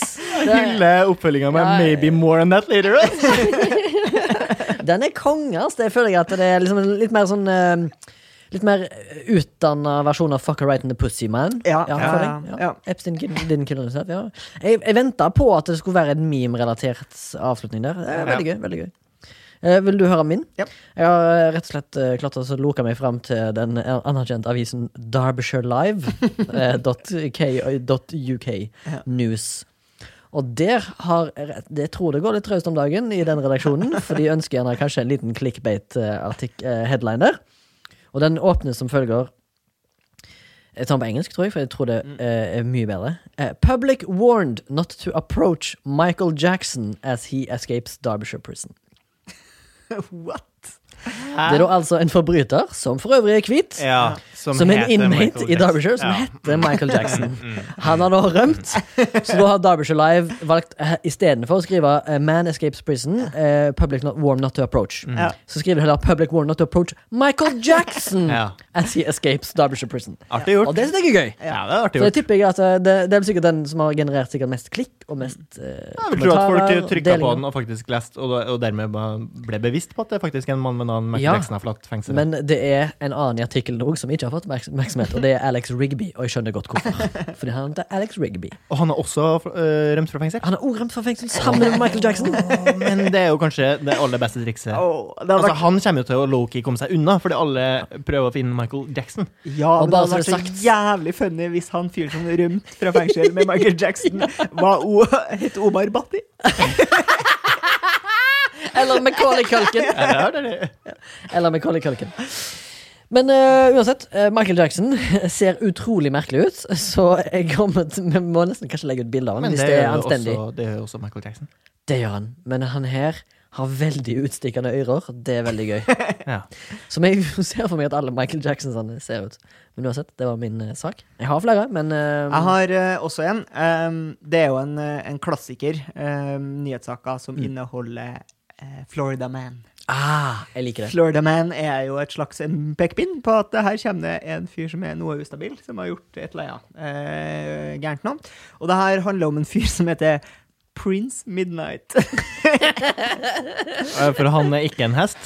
Det, Hylle oppfølginga med Ja, ja. 'Maybe more than that later'. ass. den er konge, ass. Det føler jeg at det er liksom en litt mer sånn eh, Litt mer utdanna versjon av Fucker Right in the Pussy Man. Ja, føler ja, jeg. ja. Epstein kid- didn't kill himself. Ja. Jeg, jeg venta på at det skulle være en meme-relatert avslutning der. Det er veldig gøy. veldig gøy Eh, Vil du høre min? Ja. Jeg har eh, rett og slett eh, klart å så loke meg fram til den eh, anerkjente avisen eh, derbyshireLive.uk news. Og der har Jeg tror det går litt traust om dagen i den redaksjonen, for de ønsker gjerne kanskje en liten eh, clickbait-headline der. Og den åpnes som følger Jeg tar den på engelsk, tror jeg, for jeg tror det Mm. eh, er mye bedre. Eh, Public warned not to approach Michael Jackson as he escapes Derbyshire prison. What? Det er da altså en forbryter, som for øvrig er hvit, *laughs* Ja, som, som er heter en inmate Michael i Jackson. Mm. Derbyshire, som heter Michael *laughs* Jackson. Han har da rømt, så da har Derbyshire Live valgt eh, istedenfor å skrive eh, 'Man escapes prison', eh, 'Public not, warm not to approach', Mm. Ja. så skriver de heller 'Public warm not to approach *laughs* Michael Jackson' Ja. as he escapes Derbyshire prison. Artig gjort. Og det synes jeg er gøy. Ja, det er Så artig jeg gjort. tipper jeg at eh, det, det er sikkert den som har generert sikkert mest klikk og mest eh, Jeg vil tro at kommentarer folk og trykka på delinger. den og faktisk lest, og, da- og dermed ba- ble bevisst på at det er faktisk en mann med navn Michael Ja. Jackson har forlatt fengselet. Men det er en annen i artikkelen også som ikke har fått oppmerks- oppmerksomhet, og det er Alex Rigby. Og jeg skjønner godt hvorfor. Fordi han heter Alex Rigby. og han har også øh, rømt fra fengsel. Han er orømt fra fengsel sammen med Michael Jackson. Å, Men det er jo kanskje det aller beste trikset. Åh, det hadde Altså, vært, han kommer jo til å low-key komme seg unna, fordi alle prøver å finne Michael Jackson. ja, og men det bare hadde vært så så det sagt- jævlig funny hvis han fyren som rømte fra fengsel med Michael *laughs* Jackson, var o het Omar Bhatti. Eller Macaulay *laughs* Culkin. Ja, det er det. Eller Macaulay Culkin. Men eh, uansett, eh, Michael Jackson ser utrolig merkelig ut, så jeg kommer til, vi må nesten kanskje legge ut bilde av ham Men hvis det det gjør er jo anstendig. også, det gjør jo også Michael Jackson. Det gjør han. Men han her har veldig utstikkende ører. Det er veldig gøy. Ja. Som jeg *laughs* ser for meg at alle Michael Jacksonsene ser ut. Men uansett, det var min eh, sak. Jeg har flere, men Mm. eh, Jeg har eh, også en. Ehm, det er jo en, eh, en klassiker, um, nyhetssaker som Mm. inneholder eh, Florida Man. ah, Jeg liker det. Florida Man er jo et slags em, pekepinn på at det her kommer det en fyr som er noe ustabil, som har gjort et eller annet eh, gærent nå. Og det her handler om en fyr som heter Prince Midnight. *laughs* Eh, For han er ikke en hest.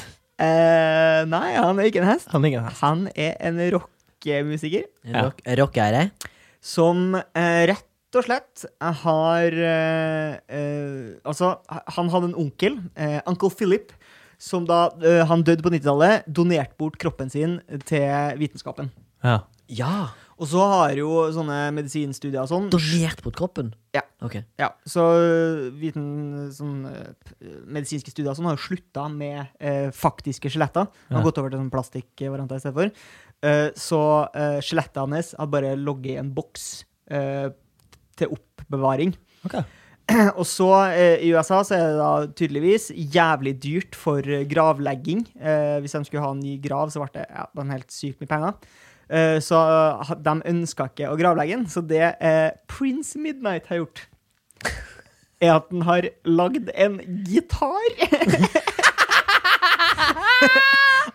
Eh, nei, han er ikke en hest. Han er ikke en hest. Han er en rockemusiker Ja. Rock, rockere. som eh, rett og slett har eh, eh, Altså, han hadde en onkel, eh, onkel Philip, som da eh, han døde på 90-tallet, donerte bort kroppen sin til vitenskapen. Ja. Ja! Og så har jo sånne medisinstudier og sånn Donert mot kroppen. Ja. Ok. ja, Så øh, viten, sånn, eh, p- medisinske studier og sånn har jo slutta med eh, faktiske skjeletter. Han har Ja. gått over til sånn plastikkvarianter i stedet for. Eh, så eh, skjelettet hans har bare ligget i en boks eh, til oppbevaring. Ok. Og så eh, i USA så er det da tydeligvis jævlig dyrt for eh, gravlegging. Eh, hvis de skulle ha en ny grav, så ble det ja, de helt sykt mye penger. Eh, så eh, ha- de ønska ikke å gravlegge den, så det eh, Prince Midnight har gjort, er at han har lagd en gitar *laughs*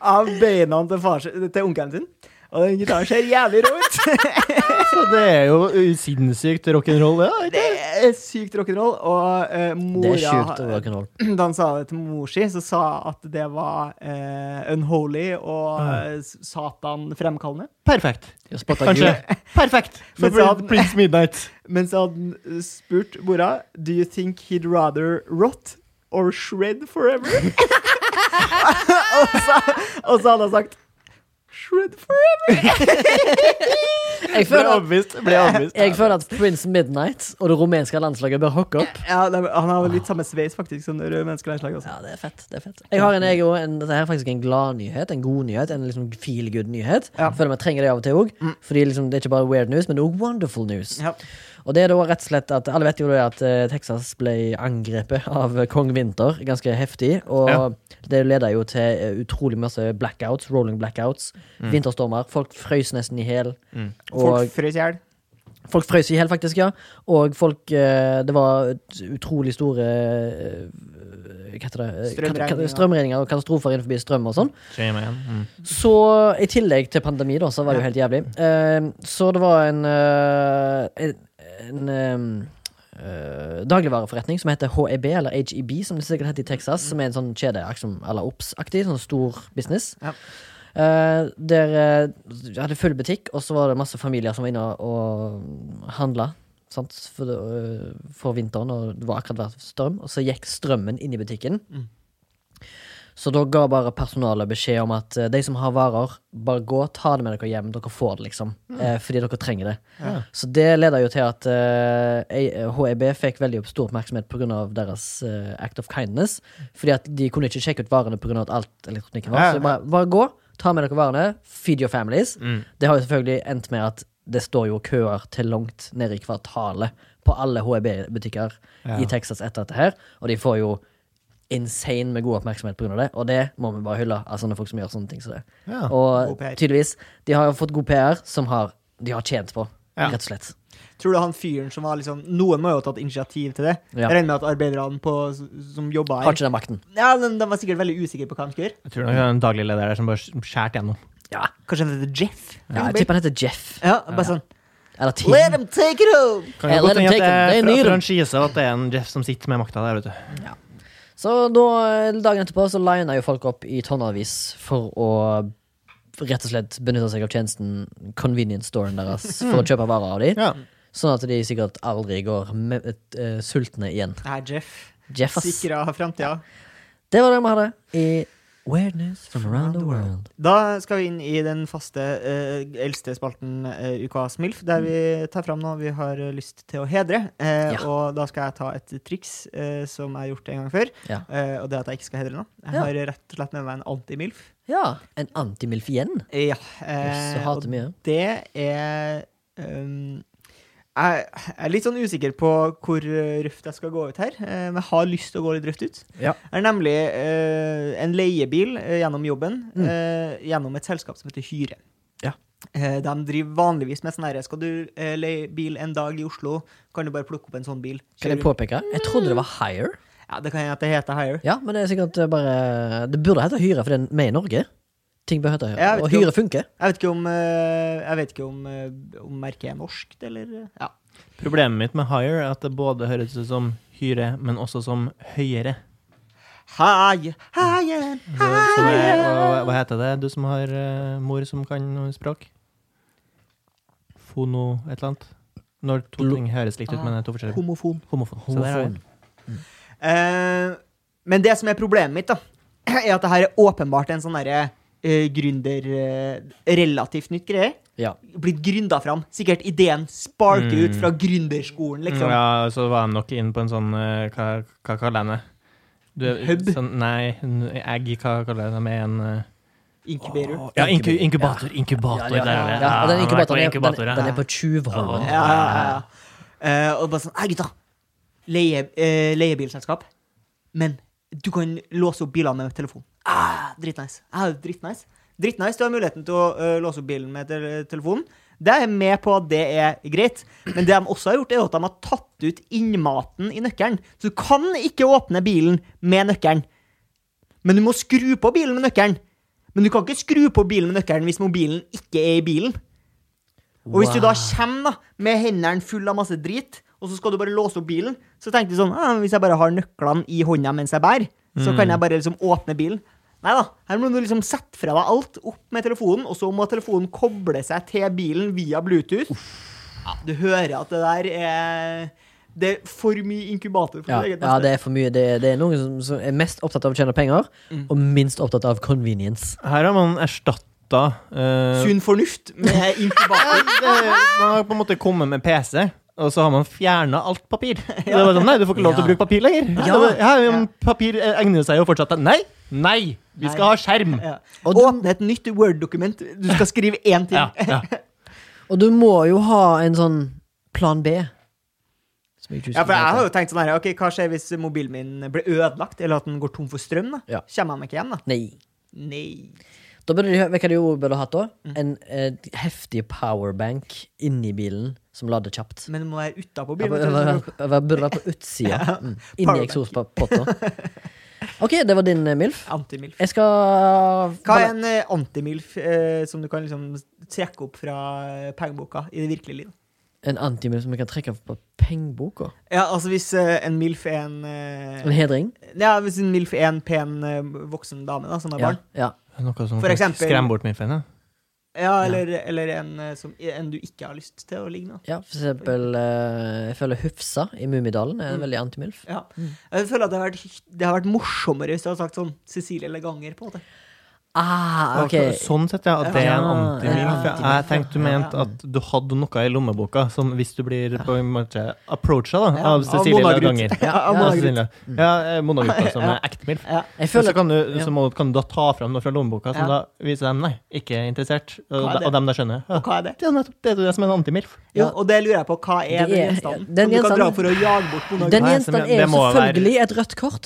av beina til, far, til onkelen sin. Og den gitaren ser jævlig rå ut. *laughs* Så det er jo uh, sinnssykt rock'n'roll, det. da. Det er sykt rock'n'roll, og eh, Det mora er sjukt rock'n'roll. da han sa det til mor si, så sa at det var eh, unholy og eh, s- satan fremkallende. Perfekt. Jeg spotter Kanskje. gul. Perfekt. Men For så han- Prince *laughs* Midnight. Men så hadde han spurt mora Do you think he'd rather rot or shred forever? *laughs* og, så, og så hadde han sagt Shred forever! Jeg Ble føler at overbevist. Ble overbevist. jeg føler at Prince Midnight og det rumenske landslaget bør hooke opp. Ja, nei, men han har vel litt samme sveis faktisk som det røde menneskelandslaget også. Ja, det er fett. det er fett Jeg har en, jeg, også, en, Dette her er faktisk en gladnyhet, en god nyhet, en liksom feel good-nyhet. Ja. Føler vi trenger det av og til òg. Fordi liksom, det er ikke bare weird news, men det er også wonderful news. Ja. Og det er da rett og slett at Alle vet jo det at eh, Texas ble angrepet av eh, kong Winter ganske heftig. Og Ja. det leda jo til eh, utrolig masse blackouts, rolling blackouts, vinterstormer. Folk frøs nesten i hjel. Folk frøs i hjel. Folk frøs i hjel, faktisk, ja. Og folk eh, Det var ut- utrolig store eh, Hva heter det? Eh, kat- kat- Strømregninger. Strømregninger og katastrofer innenfor strøm og sånn. Shame igjen. Mm. Så i tillegg til pandemi, da, så var det jo helt jævlig. Eh, så det var en eh, En, en eh, eh, dagligvareforretning som heter HEB, eller HEB, som det sikkert heter i Texas, som er en sånn kjede liksom, à la Ops-aktig, sånn stor business. Ja. Eh, der eh, hadde full butikk, og så var det masse familier som var inne og handla. Sant? For, det, eh, for vinteren, og det var akkurat vært strøm. Og så gikk strømmen inn i butikken. Så da ga bare personalet beskjed om at eh, de som har varer, bare gå, ta det med dere hjem. Dere får det, liksom. Eh, fordi dere trenger det. Så det leda jo til at eh, eh, HEB fikk veldig opp- stor oppmerksomhet pga. deres eh, act of kindness. Fordi at de kunne ikke sjekke ut varene pga. at alt elektronikken var. Ja, ja. Så bare, bare gå, ta med dere varene, feed your families. Det har jo selvfølgelig endt med at det står jo køer til langt nede i E kvartalet på alle HEB-butikker i Texas etter dette her, og de får jo insane med god oppmerksomhet pga. det, og det må vi bare hylle. Altså, når folk som gjør sånne ting som det. Ja, og god PR. tydeligvis, de har jo fått god PR som har, de har tjent på, Ja. rett og slett. Tror du han fyren som var liksom Noen må jo ha tatt initiativ til det. Ja. Jeg regner med at arbeiderne på, som jobba Har her ikke den makten. Ja, men De var sikkert veldig usikre på hva de skulle gjøre. Jeg tror nok det er en daglig leder der som bare skjært gjennom. Ja, Kanskje han heter Jeff? ja jeg tipper han heter Jeff. Ja, bare sånn Eller Tim. Let them take it home! Kan jo Eh, let godt them hende take at det them. er They fra need them. franchise at det er en Jeff som sitter med makta der, vet du. Så da, eh, dagen etterpå så lina jo folk opp i tonnavis for å rett og slett benytte seg av tjenesten convenience storen deres for å kjøpe varer av dem. Ja. Sånn at de sikkert aldri går me- eh, sultne igjen. Nei, Jeff. Jeff, ass. Sikra framtida. Det var det vi hadde i Weird News from Around the World. Da skal vi inn i den faste eh, eldste spalten eh, Uka Smilf, der vi tar fram noe vi har eh, lyst til å hedre. Eh, Ja. Og da skal jeg ta et triks eh, som jeg har gjort en gang før. Ja. eh, og det er at jeg ikke skal hedre noe. Jeg Ja. har rett og slett med meg en anti-Milf. Ja, en antimilf igjen. Ja. Jøss, jeg Eh, hater og mye. det er ehm, jeg jeg er litt sånn usikker på hvor eh, røft jeg skal gå ut her, eh, men jeg har lyst til å gå litt røft ut. Ja. Jeg har nemlig eh, en leiebil eh, gjennom jobben, eh, gjennom et selskap som heter Hyre. Mm. Ja. Eh, de driver vanligvis med sånn herre Skal du eh, leie bil en dag i Oslo, kan du bare plukke opp en sånn bil. Kan jeg Kjør- påpeke? Jeg trodde det var Hire. Ja, det kan hende at det heter Hire. Ja, men det er sikkert eh, bare Det burde hete Hyre, for det er med i Norge. Ting bør hete Hyre. Ja, jeg vet Og ikke om- Hyre funker. Jeg vet ikke om, eh, jeg vet ikke om, eh, om merket er norsk, eller Ja. Problemet mitt med Hire er at det både høres ut som hyre, men også som høyere. Hei, hei, Mm. Så hei. det er, hva, hva heter det, du som har eh, mor som kan noe språk? Fono et eller annet? Når to Lo- ting høres likt ut, men det er to forskjellige Homofon. Homofon. Så der har vi den. Eh, men det som er problemet mitt, da, *clears throat* er at det her er åpenbart en sånn derre eh, gründer eh, Relativt nytt greie. Ja. Blitt gründa fram. Sikkert ideen sparker Mm. ut fra gründerskolen, liksom. Ja, så var de nok inne på en sånn eh, Hva, hva kaller jeg det? Du, Hub? Sånn, nei, en egg, hva kaller jeg det? Med en eh, Inkuberer. Ja, inku, inkubator. inkubator. Inkubator, Ja, der er det. ja, og den Ja, inkubatoren er, inkubator, den, ja. den er på Tjuvholmen. Ja, ja, ja. sånn. Eh, og bare sånn Hei, gutta. Leie, eh, leiebilselskap. Men du kan låse opp bilene med telefon. Ah, Drittnice. Ah, drittnice. Drittnice. Du har muligheten til å eh, låse opp bilen med tele- telefonen. Det er jeg med på at det er greit, men det de også har gjort, er at de har tatt ut innmaten i nøkkelen. Så du kan ikke åpne bilen med nøkkelen. Men du må skru på bilen med nøkkelen. Men du kan ikke skru på bilen med nøkkelen hvis mobilen ikke er i bilen. Og hvis du da kommer da, med hendene fulle av masse drit, og så skal du bare låse opp bilen, så tenker du sånn ah, Hvis jeg bare har nøklene i hånda mens jeg bærer, så Mm. kan jeg bare liksom åpne bilen. Nei da. Her må du liksom sette fra deg alt opp med telefonen, og så må telefonen koble seg til bilen via Bluetooth. Ja, du hører at det der er Det er for mye inkubator for Ja, ditt eget ja, det er for mye. Det, det er noen som, som er mest opptatt av å tjene penger, og minst opptatt av convenience. Her har man eh, erstatta Sunn fornuft med *laughs* inkubator. Man har på en måte kommet med PC, og så har man fjerna alt papir. *laughs* Det var sånn, nei, du får ikke lov til å Ja. bruke papir lenger. Ja. Det var- Ja, men papir eh, egner seg jo fortsatt. Nei! Nei! Vi skal ha skjerm! Ja. Og du- Åpne et nytt Word-dokument. Du skal skrive én ting. Ja, ja. Og du må jo ha en sånn plan B. Som jeg ikke husker Ja, for jeg hva har heter. jo tenkt sånn her Ok, hva skjer hvis mobilen min blir ødelagt, eller at den går tom for strøm, da? Ja. Kommer jeg meg ikke hjem, da? Nei. Nei. Da burde de, vet du hva de jo burde hatt da? En, eh, heftig powerbank inni bilen som lader kjapt. Men det må være utapå Ja, bilen. men- vet men- du, så- men- men Burde være på utsida. Mm. Inni powerbank. eksospotta. OK, det var din eh, MILF. Antimilf. Jeg skal Hva er en eh, antimilf eh, som du kan liksom trekke opp fra eh, pengeboka i det virkelige liv? En antimilf som vi kan trekke på pengeboka? Ja, altså hvis eh, en milf er en eh, En hedring? Ja, hvis en milf er en pen eh, voksen dame da, som har Ja. barn. ja. Noe som For faktisk eksempel- skremmer bort min feil. Ja, eller, eller en, eh, som, en du ikke har lyst til å ligge med. da. Ja, for eksempel eh, Jeg føler Hufsa i Mummidalen er en veldig antimilf. Ja. Jeg føler at det har, vært, hy- det har vært morsommere hvis du hadde sagt sånn Cecilie Leganger, på en måte. Ah, ok. Akkurat Sånn sett, ja. At det er en Ja, antimilf. ja, Ja. Jeg tenkte du mente at du hadde noe i lommeboka som hvis du blir på en måte approacha da, Ja, av Cecilie Mona Groth. *laughs* Levanger. Ja, av Mona Groth. Cecilie. Ja, eh, Mona Groth, som er ekte milf. Ja. Jeg Så føler kan du, ja. så må, kan du da ta fram noe fra lommeboka Ja. som da viser dem nei, ikke interessert. Og, Hva er de- det? og dem da skjønner. Ja. Og hva er det? Det er nettopp det, er det som er en antimilf. Jo, Ja. og det lurer jeg på. Hva er Det den er- den gjenstanden? som du kan dra gjenstanden- for å jage bort Mona Den Nei, gjenstanden som- er jo det må være- selvfølgelig et rødt kort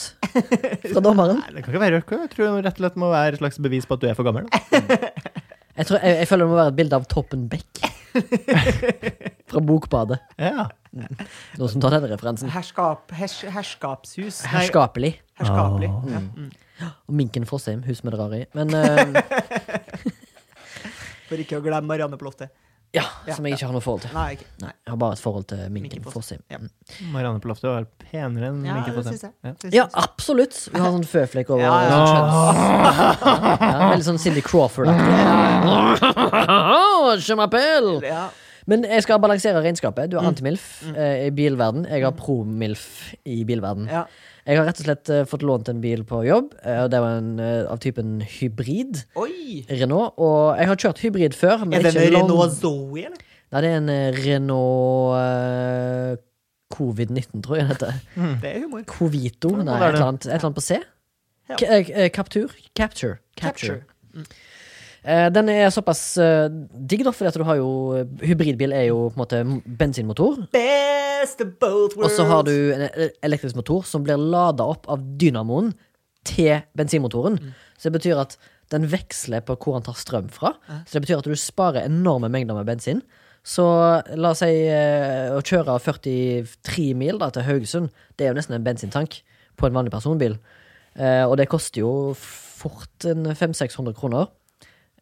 fra dommeren. Nei, det kan ikke være rødt. Jeg tror det rett og slett må være et slags bevis på at du er for gammel. Da. Jeg, tror, jeg, jeg føler det må være et bilde av Toppen Beck. Fra Bokbadet. Ja. Noen som tar den referansen. Herskap, hers, herskapshus. Nei, Herskapelig. Herskapelig. Ah. Ja. Mm. Og Minken Fossheim, hus vi drar i. Men eh, For ikke å glemme Marianne Plotte. ja, som jeg ikke har noe forhold til. Nei, ikke. Nei, jeg har bare et forhold til Minken Minken Fossheim. Fossheim. Ja. Marianne på loftet var penere enn Ja, Minken det på syns jeg. scenen. Ja. Det syns Ja, jeg. absolutt. Hun har sånn føflekk over Ja, Ah. ja. kjønns... Ja, veldig sånn Cindy Crawford-aktig. Ah, Je m'appelle! Ja. Men jeg skal balansere regnskapet. Mm. Du har antimilf eh, i bilverden. Jeg har promilf i bilverden. Ja. Jeg har rett og slett eh, fått lånt en bil på jobb. Eh, og det var en eh, av typen hybrid. Oi! Renault. Og jeg har kjørt hybrid før. Men Er det ikke en lang- Renault Zoe, eller? Nei, det er en eh, Renault eh, Covid-19, tror jeg den heter. Det er humor. Covito? Nei, et være det. eller annet, et eller annet på C? Ja. K- eh, eh, Captur? Capture. Capture. Eh, Den er såpass eh, digg, da, fordi at du har jo eh, Hybridbil er jo på en måte m- bensinmotor. Best of both Og worlds. så har du en e- elektrisk motor som blir lada opp av dynamoen til bensinmotoren. Så det betyr at den veksler på hvor han tar strøm fra. Så det betyr at du sparer enorme mengder med bensin. Så la oss si eh, å kjøre 43 mil da, til Haugesund, det er jo nesten en bensintank på en vanlig personbil. Eh, og det koster jo fort en 500-600 kroner.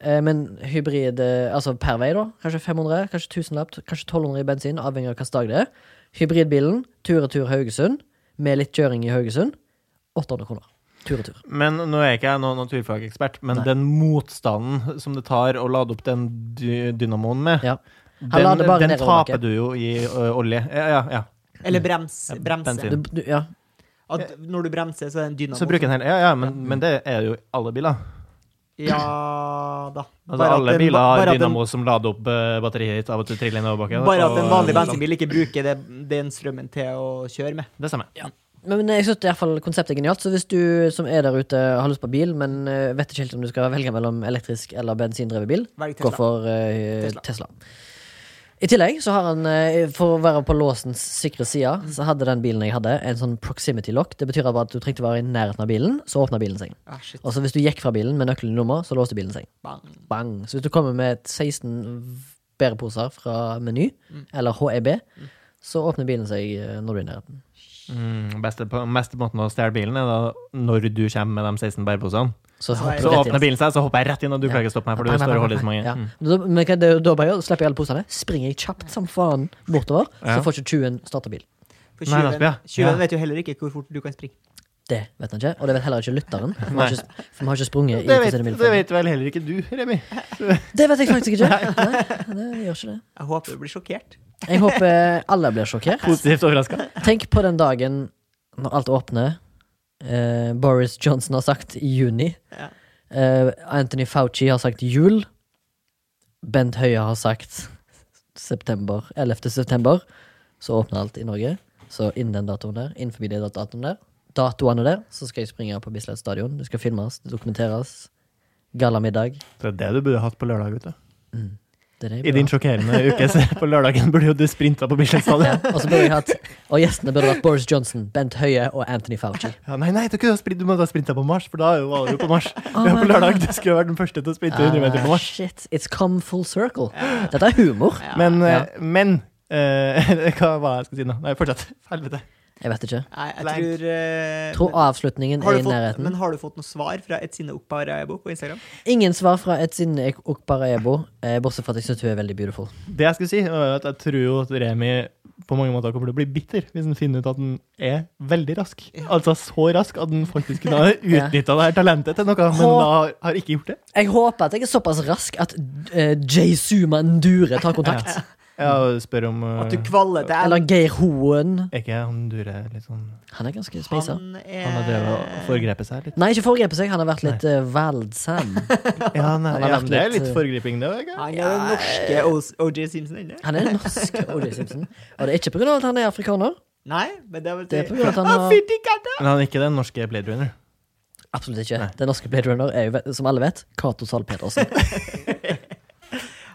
Eh, Men hybrid, eh, altså per vei da, kanskje 500, kanskje 1000-lapp, kanskje 1200 i bensin, avhengig av hvilken dag det er. Hybridbilen, tur-retur Haugesund, med litt kjøring i Haugesund, 800 kroner. Tur-retur. Men nå er ikke jeg noen naturfagekspert, men den motstanden som det tar å lade opp den dy dynamoen med, Ja. Han den, lader bare den nedoverbakke. taper du jo i ø, olje. Ja, ja, ja. Eller brems, bremse. Du, Bensin. du, ja. At når du bremser, så er det en dynamo. Så bruker den hele Ja, ja, men, men det er jo i alle biler. Ja *clears throat* da. Altså, Bare at alle en- biler bare har at en- dynamo som lader opp eh, batteriet ditt av at du triller nedoverbakke. Bare at en og- vanlig bensinbil ikke bruker det, den strømmen til å kjøre med. Det stemmer. Men jeg synes i hvert fall konseptet er genialt, så hvis du som er der ute har lyst på bil, men eh, vet ikke helt om du skal velge mellom elektrisk eller bensindrevet bil, Velg gå Tesla. for eh, Tesla. Tesla. I tillegg så har han, eh, for å være på låsens sikre side, Mm. så hadde den bilen jeg hadde, en sånn proximity lock. Det betyr bare at du trengte å være i nærheten av bilen, så åpna bilen seg. Ah, shit. Og så hvis du gikk fra bilen med nøkkelen i lomma, så låste bilen seg. Bang. Bang. Så hvis du kommer med et 16 bæreposer fra Meny, Mm. eller HEB, så åpner bilen seg eh, når du er i nærheten. Mm, beste, på, meste måten å stjele bilen er da når du kommer med de 16 bæreposene. Så, Så hopper er- du Så rett inn. åpner bilen seg, så hopper jeg rett inn, og du Ja. klarer ikke å stoppe meg, for Nei, du nei, står og nei, holder i så nei. mange. Ja. Mm. Men Da, men hva er det da bare gjør? Slipper jeg alle posene? Springer jeg kjapt som faen bortover, så får ikke tjuven starta bil. For Nei, nettopp, ja. tjuven tjuven Ja. vet jo heller ikke hvor fort du kan springe. Det vet han ikke, og det vet heller ikke lytteren. For vi Nei. har ikke, for vi har ikke sprunget i Det, vet, Christine Milford. det vet vel heller ikke du, Remi. det vet jeg faktisk ikke. Nei, det gjør ikke det. Jeg håper du blir sjokkert. Jeg håper alle blir sjokkert. Positivt overraska. Tenk på den dagen når alt åpner. Eh, Boris Johnson har sagt i juni. Ja. Eh, Anthony Fauci har sagt jul. Bent Høie har sagt september, 11. september. Så åpner alt i Norge. Dat- innen den datoen der, innenfor de datoene der, datoene der, så skal jeg springe på Bislett stadion. Det skal filmes, det dokumenteres. Gallamiddag. Det er det du burde hatt på lørdag. vet du. Det er det jeg I burde din ha. sjokkerende uke så på lørdagen burde jo du sprinta på Bislett Ja, stadion. og så burde jeg hatt Og gjestene burde vært Boris Johnson, Bent Høie og Anthony Fauci. Ja, nei, nei, du, kunne ha sprint, du må ha sprinta på Mars, for da er jo- var du jo på Mars. Men på lørdag du skulle vært den første til å sprinte 100 meter på Ah, Mars. shit, it's come full circle. Dette er humor. Men, Ja. eh, men eh, *laughs* Hva var det jeg skulle si nå? Nei, fortsett. Helvete. Jeg vet ikke. Nei, jeg Blank. tror, eh, Tror men- avslutningen har er du i fått, nærheten. Men har du fått noe svar fra Etzine Okparaibo på Instagram? Ingen svar fra Etzine Okparaebo, eh, bortsett fra at jeg syns hun er veldig beautiful. Det jeg skulle si, var at jeg tror jo at Remi på mange måter kommer til å bli bitter hvis han finner ut at han er veldig rask. Altså så rask at han faktisk *laughs* kunne ha utnytta det her talentet til noe, men da har ikke gjort det. Jeg håper at jeg er såpass rask at eh, Jay Suman Dure tar kontakt. Ja, og spør om eh, At du kvaller til Eller Geir Hoen. Er ikke han Dure litt sånn Han er ganske speisa. Han har drevet Eh. og foregrepet seg litt? Nei, ikke foregrepet seg. Han har vært litt uh, valdsam. Ja, *laughs* nei, Han har ja, vært det er litt- eh, litt foregriping, det òg. Han er den norske O- OJ Simpson, eller? Han er en norsk O.J. Simpson. Og det er ikke pga. at han er afrikaner. Nei, men det er vel Det er på grunn av at han Ah, har- fytti katta! Men han er ikke den norske Blade Runner. Absolutt ikke. Den norske Blade Runner er jo, ve- som alle vet, Cato Zahl Pedersen.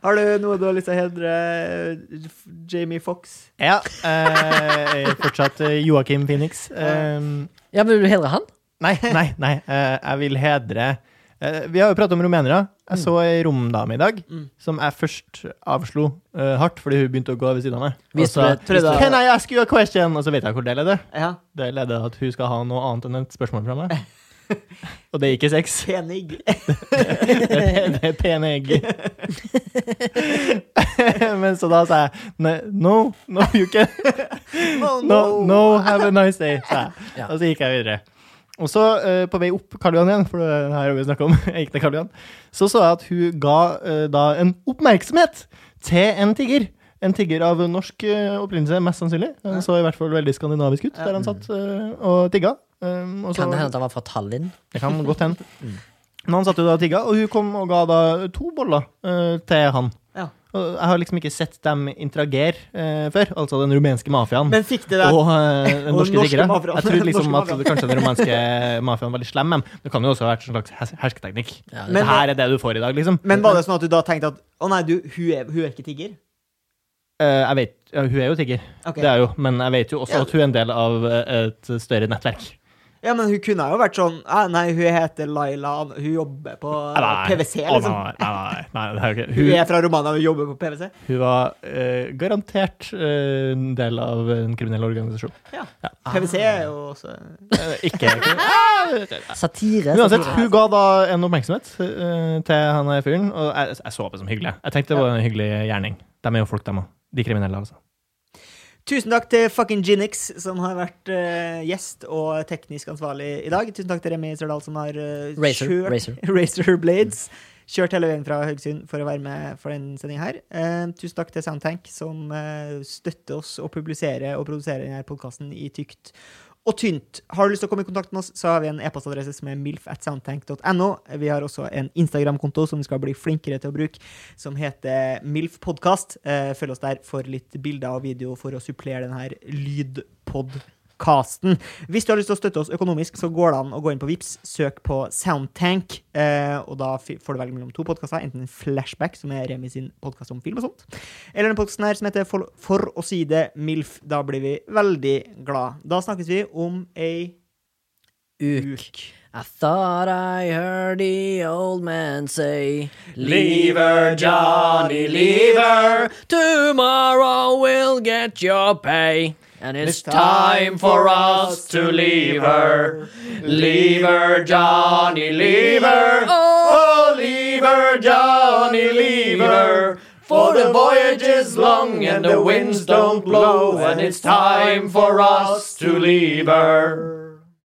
Har du noe du har lyst til å hedre eh, F- Jamie Fox? Ja. Eh, jeg er fortsatt eh, Joakim Phoenix. Eh, Ja, men vil du hedre han? Nei, *laughs* nei, nei. eh, jeg vil hedre eh, Vi har jo pratet om rumenere. Jeg så ei romdame i dag som jeg først avslo eh, hardt fordi hun begynte å gå ved siden av meg. Og Visste sa du- visste du- Can I ask you a question? Og så vet jeg hvor det leder. Ja. Det leder at hun skal ha noe annet enn et spørsmål fra meg. Og det er ikke sex. *laughs* Penig. Det er det er pene egg. *laughs* Men så da sa jeg "Nei, no, no, you can Oh, No, no, have a nice day, sa jeg. *laughs* Ja. Og så gikk jeg videre. Og så, eh, på vei opp Karl Johan igjen, for det her har vi jo snakket om, *laughs* jeg gikk til Karl Johan, så så jeg at hun ga eh, da en oppmerksomhet til en tigger. En tigger av norsk eh, opprinnelse, mest sannsynlig. Han så i hvert fall veldig skandinavisk ut, der han satt eh, og tigga. Um, og så- Kan det hende Mm. at han var fra Tallinn? det kan godt *laughs* hende. Men han satt jo da og tigga, og hun kom og ga da to boller eh, til han. Ja. Og jeg har liksom ikke sett dem interagere eh, før, altså den rumenske mafiaen. Men fikk det der Og eh, den *laughs* Og norske norske tiggere. mafiaen. Jeg trodde liksom Norske at det- kanskje den romanske mafiaen var litt slem, men det kan jo også ha vært en slags hers- hersketeknikk. Ja, Ja, det- det her er det du får i dag, liksom. Men var det sånn at du da tenkte at Å nei, du, hun er, hun er ikke tigger? Eh, jeg vet, ja, Hun er jo tigger, Ok. det er jo, men jeg vet jo også Ja. at hun er en del av eh, et større nettverk. Ja, men hun kunne jo vært sånn «Ah, Nei, hun heter Laila, hun jobber på Nei, nei, PwC, å, liksom. Nei, nei, nei, nei, det er jo ikke- Hun Hun- er fra Romania og jobber på PwC. Hun var eh, garantert eh, en del av en kriminell organisasjon. Ja. PwC er jo også Eh, ikke Satire? Uansett, satire. hun ga da en oppmerksomhet eh, til han her fyren, og jeg, jeg så på det som hyggelig. Jeg tenkte det var en hyggelig gjerning. De er jo folk, dem òg. De kriminelle, altså. Tusen takk til fucking Ginix, som har vært eh, gjest og teknisk ansvarlig i dag. Tusen takk til Remi Sørdal, som har eh, Razer, kjørt *laughs* Razer. Razer Blades. Kjørt hele veien fra Haugesund for å være med for denne sendinga her. Eh, tusen takk til Soundtank, som eh, støtter oss og publiserer og produserer denne podkasten i tykt og tynt. Har du lyst til å komme i kontakt med oss, så har vi en e-postadresse som er milf.soundtank.no. Vi har også en Instagram-konto som vi skal bli flinkere til å bruke, som heter milfpodkast. Eh, Følg oss der for litt bilder og video for å supplere denne lydpodkasten. Hvis du har lyst til å støtte oss økonomisk, så går det an å gå inn på Vips, søk på Soundtank, eh, og da fi- får du velge mellom to podkaster, enten en flashback, som er Remi sin podkast om film og sånt, eller denne podkasten her som heter For, for å si det MILF. Da blir vi veldig glad. Da snakkes vi om ei Uk. I thought I heard the old man say Lever, Johnny, lever. Tomorrow we'll get your pay And it's Time for us to leave her. Leave her, Johnny, leave her. Oh, leave her, Johnny, leave her. For the voyage is long and the winds don't blow, and it's time for us to leave her.